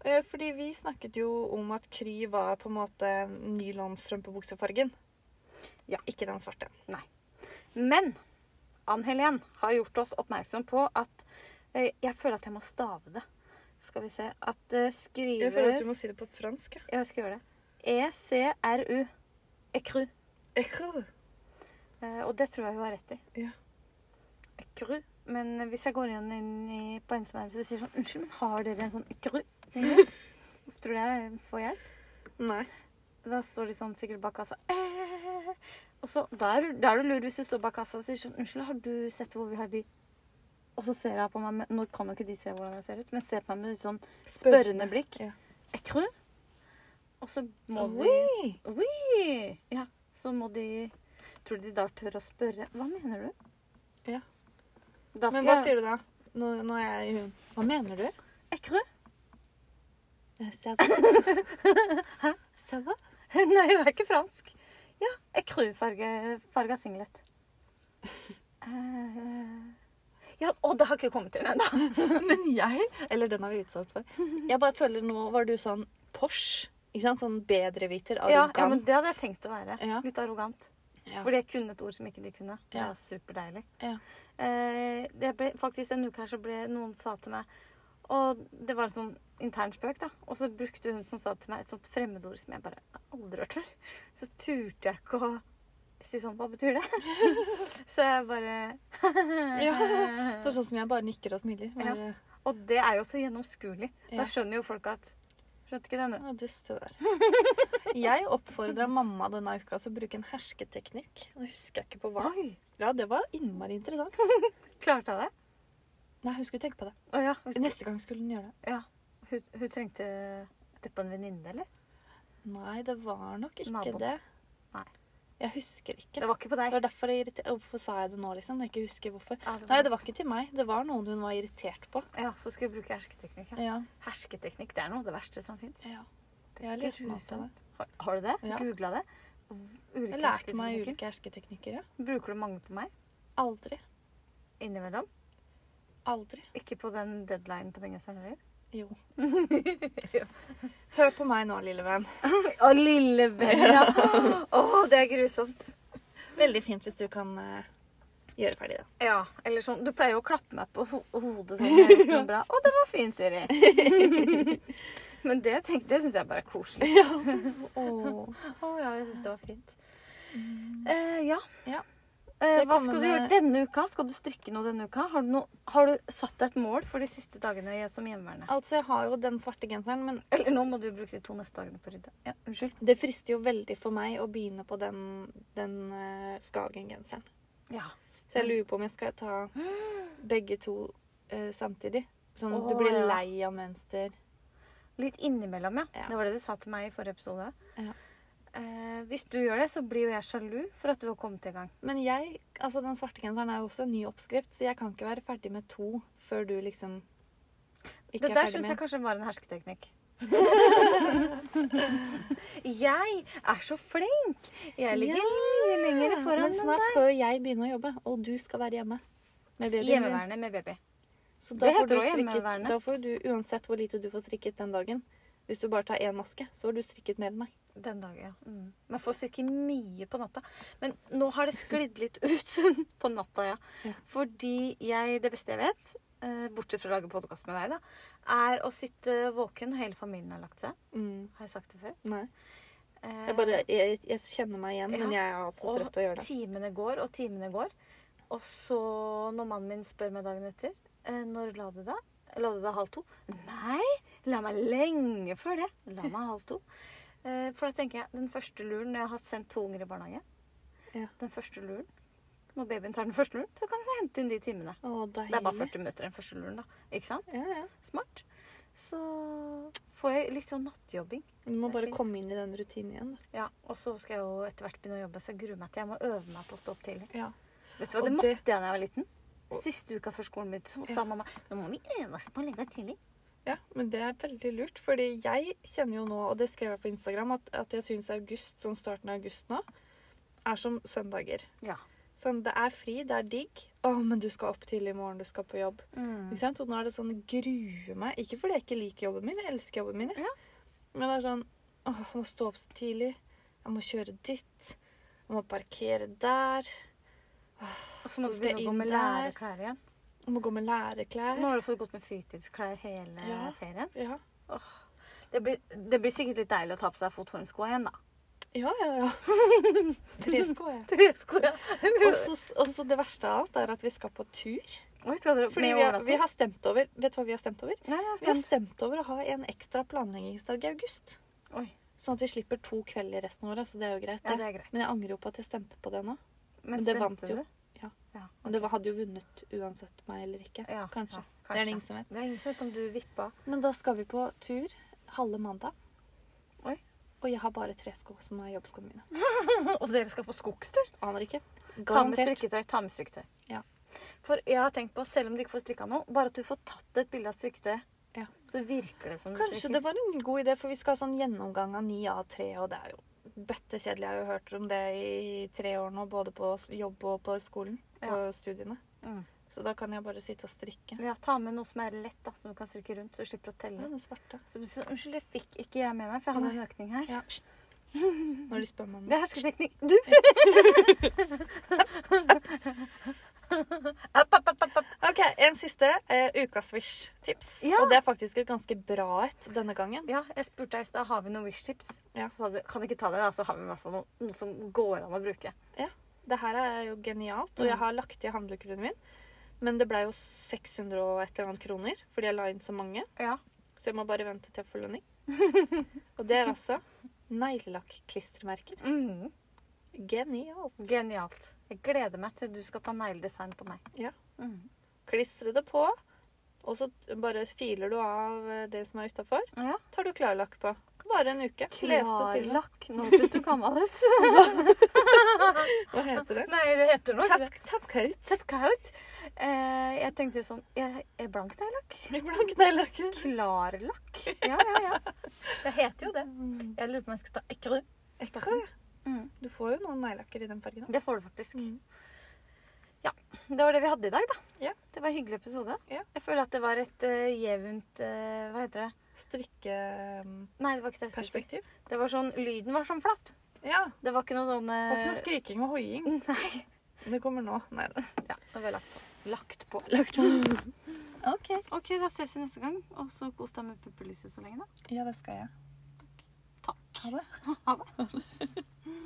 Speaker 1: eh, fordi vi snakket jo om at kry var på en måte nylonstrømpebuksefargen.
Speaker 2: Ja.
Speaker 1: Ikke den svarte.
Speaker 2: Men Ann-Helen har gjort oss oppmerksom på at eh, Jeg føler at jeg må stave det. Skal vi se At det skrives
Speaker 1: Jeg føler at du må si det på fransk.
Speaker 2: Ja, jeg skal gjøre det. E E-C-R-U. Ecru.
Speaker 1: Ja.
Speaker 2: Eh, og det tror jeg hun har rett i.
Speaker 1: Ja.
Speaker 2: Ecru. Men hvis jeg går igjen inn i, på Instagram og sier sånn Unnskyld, men har dere en sånn ecru? Tror du jeg får hjelp?
Speaker 1: Nei.
Speaker 2: Da står de sånn sikkert bak kassa. Eh. Og så, da er, du- da er du lur hvis du står bak kassa og sier sånn Unnskyld, har du sett hvor vi har de Og så ser jeg på meg med, Nå kan jo ikke de se hvordan jeg ser ut, men ser på meg med litt sånn spørrende blikk.
Speaker 1: Ja.
Speaker 2: Ecru. Og så må de
Speaker 1: Oui.
Speaker 2: Oui! Ja, så må de Tror du de da tør å spørre Hva mener du?
Speaker 1: Ja.
Speaker 2: Da
Speaker 1: Men
Speaker 2: skal
Speaker 1: hva
Speaker 2: jeg Eh,
Speaker 1: sier du da? Nå, nå er jeg i hun. Hva mener du?
Speaker 2: Ekru?
Speaker 1: Eh, Ça va? Ça va?
Speaker 2: Nei, hun er ikke fransk. Ja, ekru-farga singlet. Eh, ja, og det har ikke kommet inn ennå.
Speaker 1: Men jeg Eller den har vi utsolgt for. Jeg bare føler nå var du sånn Porsche. Ikke sant? Sånn bedreviter,
Speaker 2: Ja, ja, men
Speaker 1: arrogant.
Speaker 2: det hadde jeg tenkt å være.
Speaker 1: Ja.
Speaker 2: Litt arrogant.
Speaker 1: Ja.
Speaker 2: Fordi jeg kunne et ord som ikke de kunne. Det
Speaker 1: Ja.
Speaker 2: er jo superdeilig.
Speaker 1: Ja.
Speaker 2: Eh, det ble, faktisk en uke her så ble noen sa til meg Og det var en sånn intern spøk, da. Og så brukte hun som sa til meg et sånt fremmedord som jeg bare aldri har hørt før. Så turte jeg ikke å si sånn Hva betyr det? så jeg bare eh,
Speaker 1: Ja. Det er sånn som jeg bare nikker og smiler. Bare,
Speaker 2: Og det er jo så gjennomskuelig.
Speaker 1: Ja.
Speaker 2: Da skjønner jo folk at Skjønte ikke denne.
Speaker 1: Å, dust det der. Jeg oppfordra mamma denne uka til å bruke en hersketeknikk. Nå husker jeg ikke på hva.
Speaker 2: Oi!
Speaker 1: Ja, Det var innmari interessant.
Speaker 2: Klarte jeg det?
Speaker 1: Nei, hun skulle tenke på det.
Speaker 2: Å ja. husker-
Speaker 1: Neste gang skulle hun gjøre det.
Speaker 2: Ja. Hun, hun trengte det på en venninne, eller?
Speaker 1: Nei, det var nok ikke
Speaker 2: Naboen.
Speaker 1: det.
Speaker 2: Nei.
Speaker 1: Jeg husker ikke.
Speaker 2: Det var ikke på
Speaker 1: Det
Speaker 2: deg.
Speaker 1: var derfor jeg irriter... Hvorfor sa jeg det nå, liksom? Når jeg ikke husker hvorfor.
Speaker 2: Ja, det
Speaker 1: Nei,
Speaker 2: var-
Speaker 1: det var ikke til meg. Det var noen hun var irritert på.
Speaker 2: Ja, så skulle vi bruke hersketeknikk. Ja.
Speaker 1: Ja.
Speaker 2: Hersketeknikk det er noe av det verste som fins.
Speaker 1: ja. Jeg er litt smart av det.
Speaker 2: Har, har du det?
Speaker 1: Ja.
Speaker 2: Googla det? Ulike
Speaker 1: Jeg lærte meg
Speaker 2: hersketeknikker.
Speaker 1: ulike hersketeknikker, ja.
Speaker 2: Bruker du mange på meg?
Speaker 1: Aldri.
Speaker 2: innimellom?
Speaker 1: Aldri.
Speaker 2: Ikke på den deadline på den genseren heller?
Speaker 1: Jo. Hør på meg nå, lille venn.
Speaker 2: Å, lille Bella! Å, det er grusomt.
Speaker 1: Veldig fint hvis du kan eh, gjøre ferdig det.
Speaker 2: Ja, eller sånn, Du pleier jo å klappe meg på ho hodet sånn. når jeg gjør noe Bra. Å, det var fint, Siri. Men det, tenkte- det syns jeg bare er koselig. Å ja, jeg syns det var fint. Eh, ja.
Speaker 1: Mm. Ja.
Speaker 2: Eh,
Speaker 1: Så jeg
Speaker 2: hva
Speaker 1: kommer
Speaker 2: skal du gjøre
Speaker 1: med-
Speaker 2: denne uka? Skal du strikke noe denne uka? Har du, noe- har du satt deg et mål for de siste dagene jeg- som hjemmeværende?
Speaker 1: Altså, jeg har jo den svarte genseren, men
Speaker 2: Eller nå må du bruke de to neste dagene på å rydde. Ja, unnskyld.
Speaker 1: det frister jo veldig for meg å begynne på den, den eh, Skagen-genseren.
Speaker 2: Ja.
Speaker 1: Så jeg lurer på om jeg skal ta begge to eh, samtidig. Sånn at
Speaker 2: Å,
Speaker 1: du blir
Speaker 2: ja.
Speaker 1: lei av mønster.
Speaker 2: Litt innimellom, ja.
Speaker 1: Ja.
Speaker 2: Det var det du sa til meg i forrige episode.
Speaker 1: Ja.
Speaker 2: Eh, hvis du gjør det, så blir jo jeg sjalu for at du har kommet i gang.
Speaker 1: Men jeg, altså den svarte genseren er jo også en ny oppskrift, så jeg kan ikke være ferdig med to før du liksom ikke
Speaker 2: det
Speaker 1: er
Speaker 2: der
Speaker 1: ferdig
Speaker 2: syns
Speaker 1: med
Speaker 2: jeg kanskje var en hersketeknikk. jeg er så flink! Jeg ligger
Speaker 1: Ja,
Speaker 2: mye lenger foran
Speaker 1: Men
Speaker 2: enn
Speaker 1: snart
Speaker 2: deg.
Speaker 1: skal jo jeg begynne å jobbe, og du skal være hjemme. Med babyen din.
Speaker 2: Hjemmeværende med baby.
Speaker 1: Så
Speaker 2: Det
Speaker 1: da får,
Speaker 2: heter
Speaker 1: du
Speaker 2: også
Speaker 1: strikket,
Speaker 2: hjemmeværende.
Speaker 1: da får du, uansett hvor lite du får strikket den dagen Hvis du bare tar én maske, så har du strikket mer enn meg.
Speaker 2: Den dagen, ja. Mm. Man får strikke mye på natta. Men nå har det sklidd litt ut på natta, ja.
Speaker 1: Ja.
Speaker 2: Fordi jeg, det beste jeg vet, eh, bortsett fra å lage podkast med deg, da, er å sitte våken når hele familien har lagt seg.
Speaker 1: Mm.
Speaker 2: Har jeg sagt det før?
Speaker 1: Nei.
Speaker 2: Eh,
Speaker 1: Jeg, bare, jeg, jeg kjenner meg igjen, men
Speaker 2: Ja.
Speaker 1: jeg har fått rødt å gjøre det.
Speaker 2: timene går, og timene går. Og så, når mannen min spør meg dagen etter eh, Når la du deg? La du deg halv to? Nei! La meg lenge før det. La meg halv to. Eh, for da tenker jeg den første luren når jeg har sendt to unger i barnehage
Speaker 1: Ja.
Speaker 2: Den første luren Når babyen tar den første luren, så kan jeg hente inn de timene.
Speaker 1: Å, deilig.
Speaker 2: Det er bare 40 minutter den første luren, da. Ikke sant?
Speaker 1: Ja, ja.
Speaker 2: Smart. Så får jeg litt sånn nattjobbing.
Speaker 1: Du må
Speaker 2: Det er
Speaker 1: bare
Speaker 2: fint.
Speaker 1: komme inn i den rutinen igjen. da.
Speaker 2: Ja, Og så skal jeg jo etter hvert begynne å jobbe, så jeg gruer meg til jeg må øve meg på å stå opp tidlig.
Speaker 1: Ja.
Speaker 2: Vet du hva,
Speaker 1: Og
Speaker 2: det måtte
Speaker 1: det-
Speaker 2: jeg da jeg var liten. Siste uka før skolen begynte, så sa
Speaker 1: Ja.
Speaker 2: mamma Nå må vi øve oss på å legge deg tidlig.
Speaker 1: Ja, men det er veldig lurt, fordi jeg kjenner jo nå, og det skrev jeg på Instagram, at, at jeg syns august, sånn starten av august nå, er som søndager.
Speaker 2: Ja.
Speaker 1: Sånn, det er fri, det er digg. Å, men du skal opp tidlig i morgen, du skal på jobb.
Speaker 2: Mm.
Speaker 1: Ikke sant? Og nå er det sånn grue meg. Ikke fordi jeg ikke liker jobben min, jeg elsker jobben min. jeg.
Speaker 2: Ja.
Speaker 1: Men det er sånn åh, jeg må stå opp så tidlig. Jeg må kjøre dit. Jeg må parkere der.
Speaker 2: Og så må
Speaker 1: Så
Speaker 2: du
Speaker 1: skal
Speaker 2: begynne
Speaker 1: jeg
Speaker 2: å gå
Speaker 1: inn
Speaker 2: med
Speaker 1: der.
Speaker 2: lærerklær igjen.
Speaker 1: Jeg må gå med lærerklær.
Speaker 2: Nå har du fått gått med fritidsklær hele
Speaker 1: Ja.
Speaker 2: ferien.
Speaker 1: Ja.
Speaker 2: Det blir, det blir sikkert litt deilig å ta på seg fotformskoa igjen, da.
Speaker 1: ja, ja, ja. Tre sko, jeg.
Speaker 2: Tresko, ja.
Speaker 1: Og så- Og så det verste av alt er at vi skal på tur.
Speaker 2: Oi, skal dere
Speaker 1: Fordi
Speaker 2: med
Speaker 1: vi har,
Speaker 2: overnatting?
Speaker 1: vi har stemt over Vet du hva vi har stemt over?
Speaker 2: Nei, jeg er
Speaker 1: Vi har
Speaker 2: spent.
Speaker 1: stemt over å ha en ekstra planleggingsdag i august.
Speaker 2: Oi.
Speaker 1: Sånn at vi slipper to kvelder resten av året, så det er jo greit.
Speaker 2: Ja,
Speaker 1: det.
Speaker 2: det er greit.
Speaker 1: Men jeg angrer jo på at jeg stemte på det nå.
Speaker 2: Men
Speaker 1: det
Speaker 2: stemte
Speaker 1: vant jo.
Speaker 2: du?
Speaker 1: Ja.
Speaker 2: Ja.
Speaker 1: Men det var- hadde jo vunnet uansett meg eller ikke.
Speaker 2: Ja,
Speaker 1: Kanskje.
Speaker 2: ja,
Speaker 1: Det er det ingen som vet.
Speaker 2: Det er ingen som vet om du vippa.
Speaker 1: Men da skal vi på tur halve mandag.
Speaker 2: Oi.
Speaker 1: Og jeg har bare tre sko som er jobbskoene mine.
Speaker 2: Og dere skal på skogstur?
Speaker 1: Aner ikke.
Speaker 2: Ta med
Speaker 1: Garantert.
Speaker 2: strikketøy. Ta med strikketøy.
Speaker 1: Ja.
Speaker 2: For jeg har tenkt på, selv om du ikke får strikka noe, bare at du får tatt et bilde av strikketøyet,
Speaker 1: Ja.
Speaker 2: så virker det som du
Speaker 1: Kanskje det
Speaker 2: strikker.
Speaker 1: var en god idé, for vi skal ha sånn gjennomgang av 9A3, og det er jo bøttekjedelig. Jeg har jo hørt om det i tre år nå, både på s- jobb og på skolen og studiene.
Speaker 2: Mm.
Speaker 1: Så da kan jeg bare sitte og strikke.
Speaker 2: Ja, ta med noe som er lett, da, som du kan strikke rundt, så du slipper å
Speaker 1: Ja,
Speaker 2: telle.
Speaker 1: den svarte.
Speaker 2: Så, så, unnskyld, det fikk ikke jeg med meg, for jeg hadde en økning her.
Speaker 1: Ja. Når de spør meg om
Speaker 2: Det
Speaker 1: det.
Speaker 2: er hersketeknikk. Du! app, app, app, app, app.
Speaker 1: Ok, En siste eh, ukas Wish-tips.
Speaker 2: Ja.
Speaker 1: Og det er faktisk et ganske bra et denne gangen.
Speaker 2: Ja, jeg spurte deg i stad har vi noen wish-tips.
Speaker 1: Ja.
Speaker 2: Så sa du kan du ikke ta det, da, så har vi i hvert fall noe, noe som går an å bruke.
Speaker 1: Det her er jo genialt,
Speaker 2: Mm.
Speaker 1: og jeg har lagt i handlekurven min. Men det ble jo 600 og et eller annet kroner fordi jeg la inn så mange.
Speaker 2: Ja.
Speaker 1: Så jeg må bare vente til jeg får lønning. Og det er altså neglelakk-klistremerker.
Speaker 2: Mm.
Speaker 1: Genialt.
Speaker 2: Genialt. Jeg gleder meg til du skal ta negledesign på meg.
Speaker 1: Ja.
Speaker 2: Mm.
Speaker 1: Klistre det på, og så bare filer du av eh, det som er utafor.
Speaker 2: Ja.
Speaker 1: Tar du klarlakk på. Bare en uke. Leste til og med.
Speaker 2: Klarlakk. Nå hørtes du gammel ut.
Speaker 1: Hva heter det?
Speaker 2: Nei, det heter noe.
Speaker 1: Tapp- Tappkaut.
Speaker 2: Tappkaut. Eh, jeg tenkte sånn jeg, jeg Blank neglelakk?
Speaker 1: Blank neglelakk.
Speaker 2: Klarlakk? Ja, ja, ja. Det heter jo det.
Speaker 1: Mm.
Speaker 2: Jeg lurer på om jeg skal ta ekru.
Speaker 1: Ekte.
Speaker 2: Mm.
Speaker 1: Du får jo noen neglelakker i den fargen. da.
Speaker 2: Mm. Det får du faktisk.
Speaker 1: Mm.
Speaker 2: Ja. det var det vi hadde i dag, da.
Speaker 1: Ja.
Speaker 2: Det var en hyggelig episode.
Speaker 1: Ja.
Speaker 2: Jeg føler at det var et eh, jevnt eh, Hva heter det?
Speaker 1: Strikkeperspektiv.
Speaker 2: Nei, det var ikke det jeg skulle si. Det var sånn, Lyden var sånn flat.
Speaker 1: Ja.
Speaker 2: Det var ikke noe sånn
Speaker 1: Det var ikke noe
Speaker 2: eh,
Speaker 1: skriking og hoiing.
Speaker 2: Nei.
Speaker 1: Det kommer nå. Nei da.
Speaker 2: Ja, det var lagt på. Lagt på.
Speaker 1: OK.
Speaker 2: Ok, da ses vi neste gang. Og så kos deg med puppelyset så lenge, da.
Speaker 1: Ja, det skal jeg.
Speaker 2: Takk.
Speaker 1: Ha det.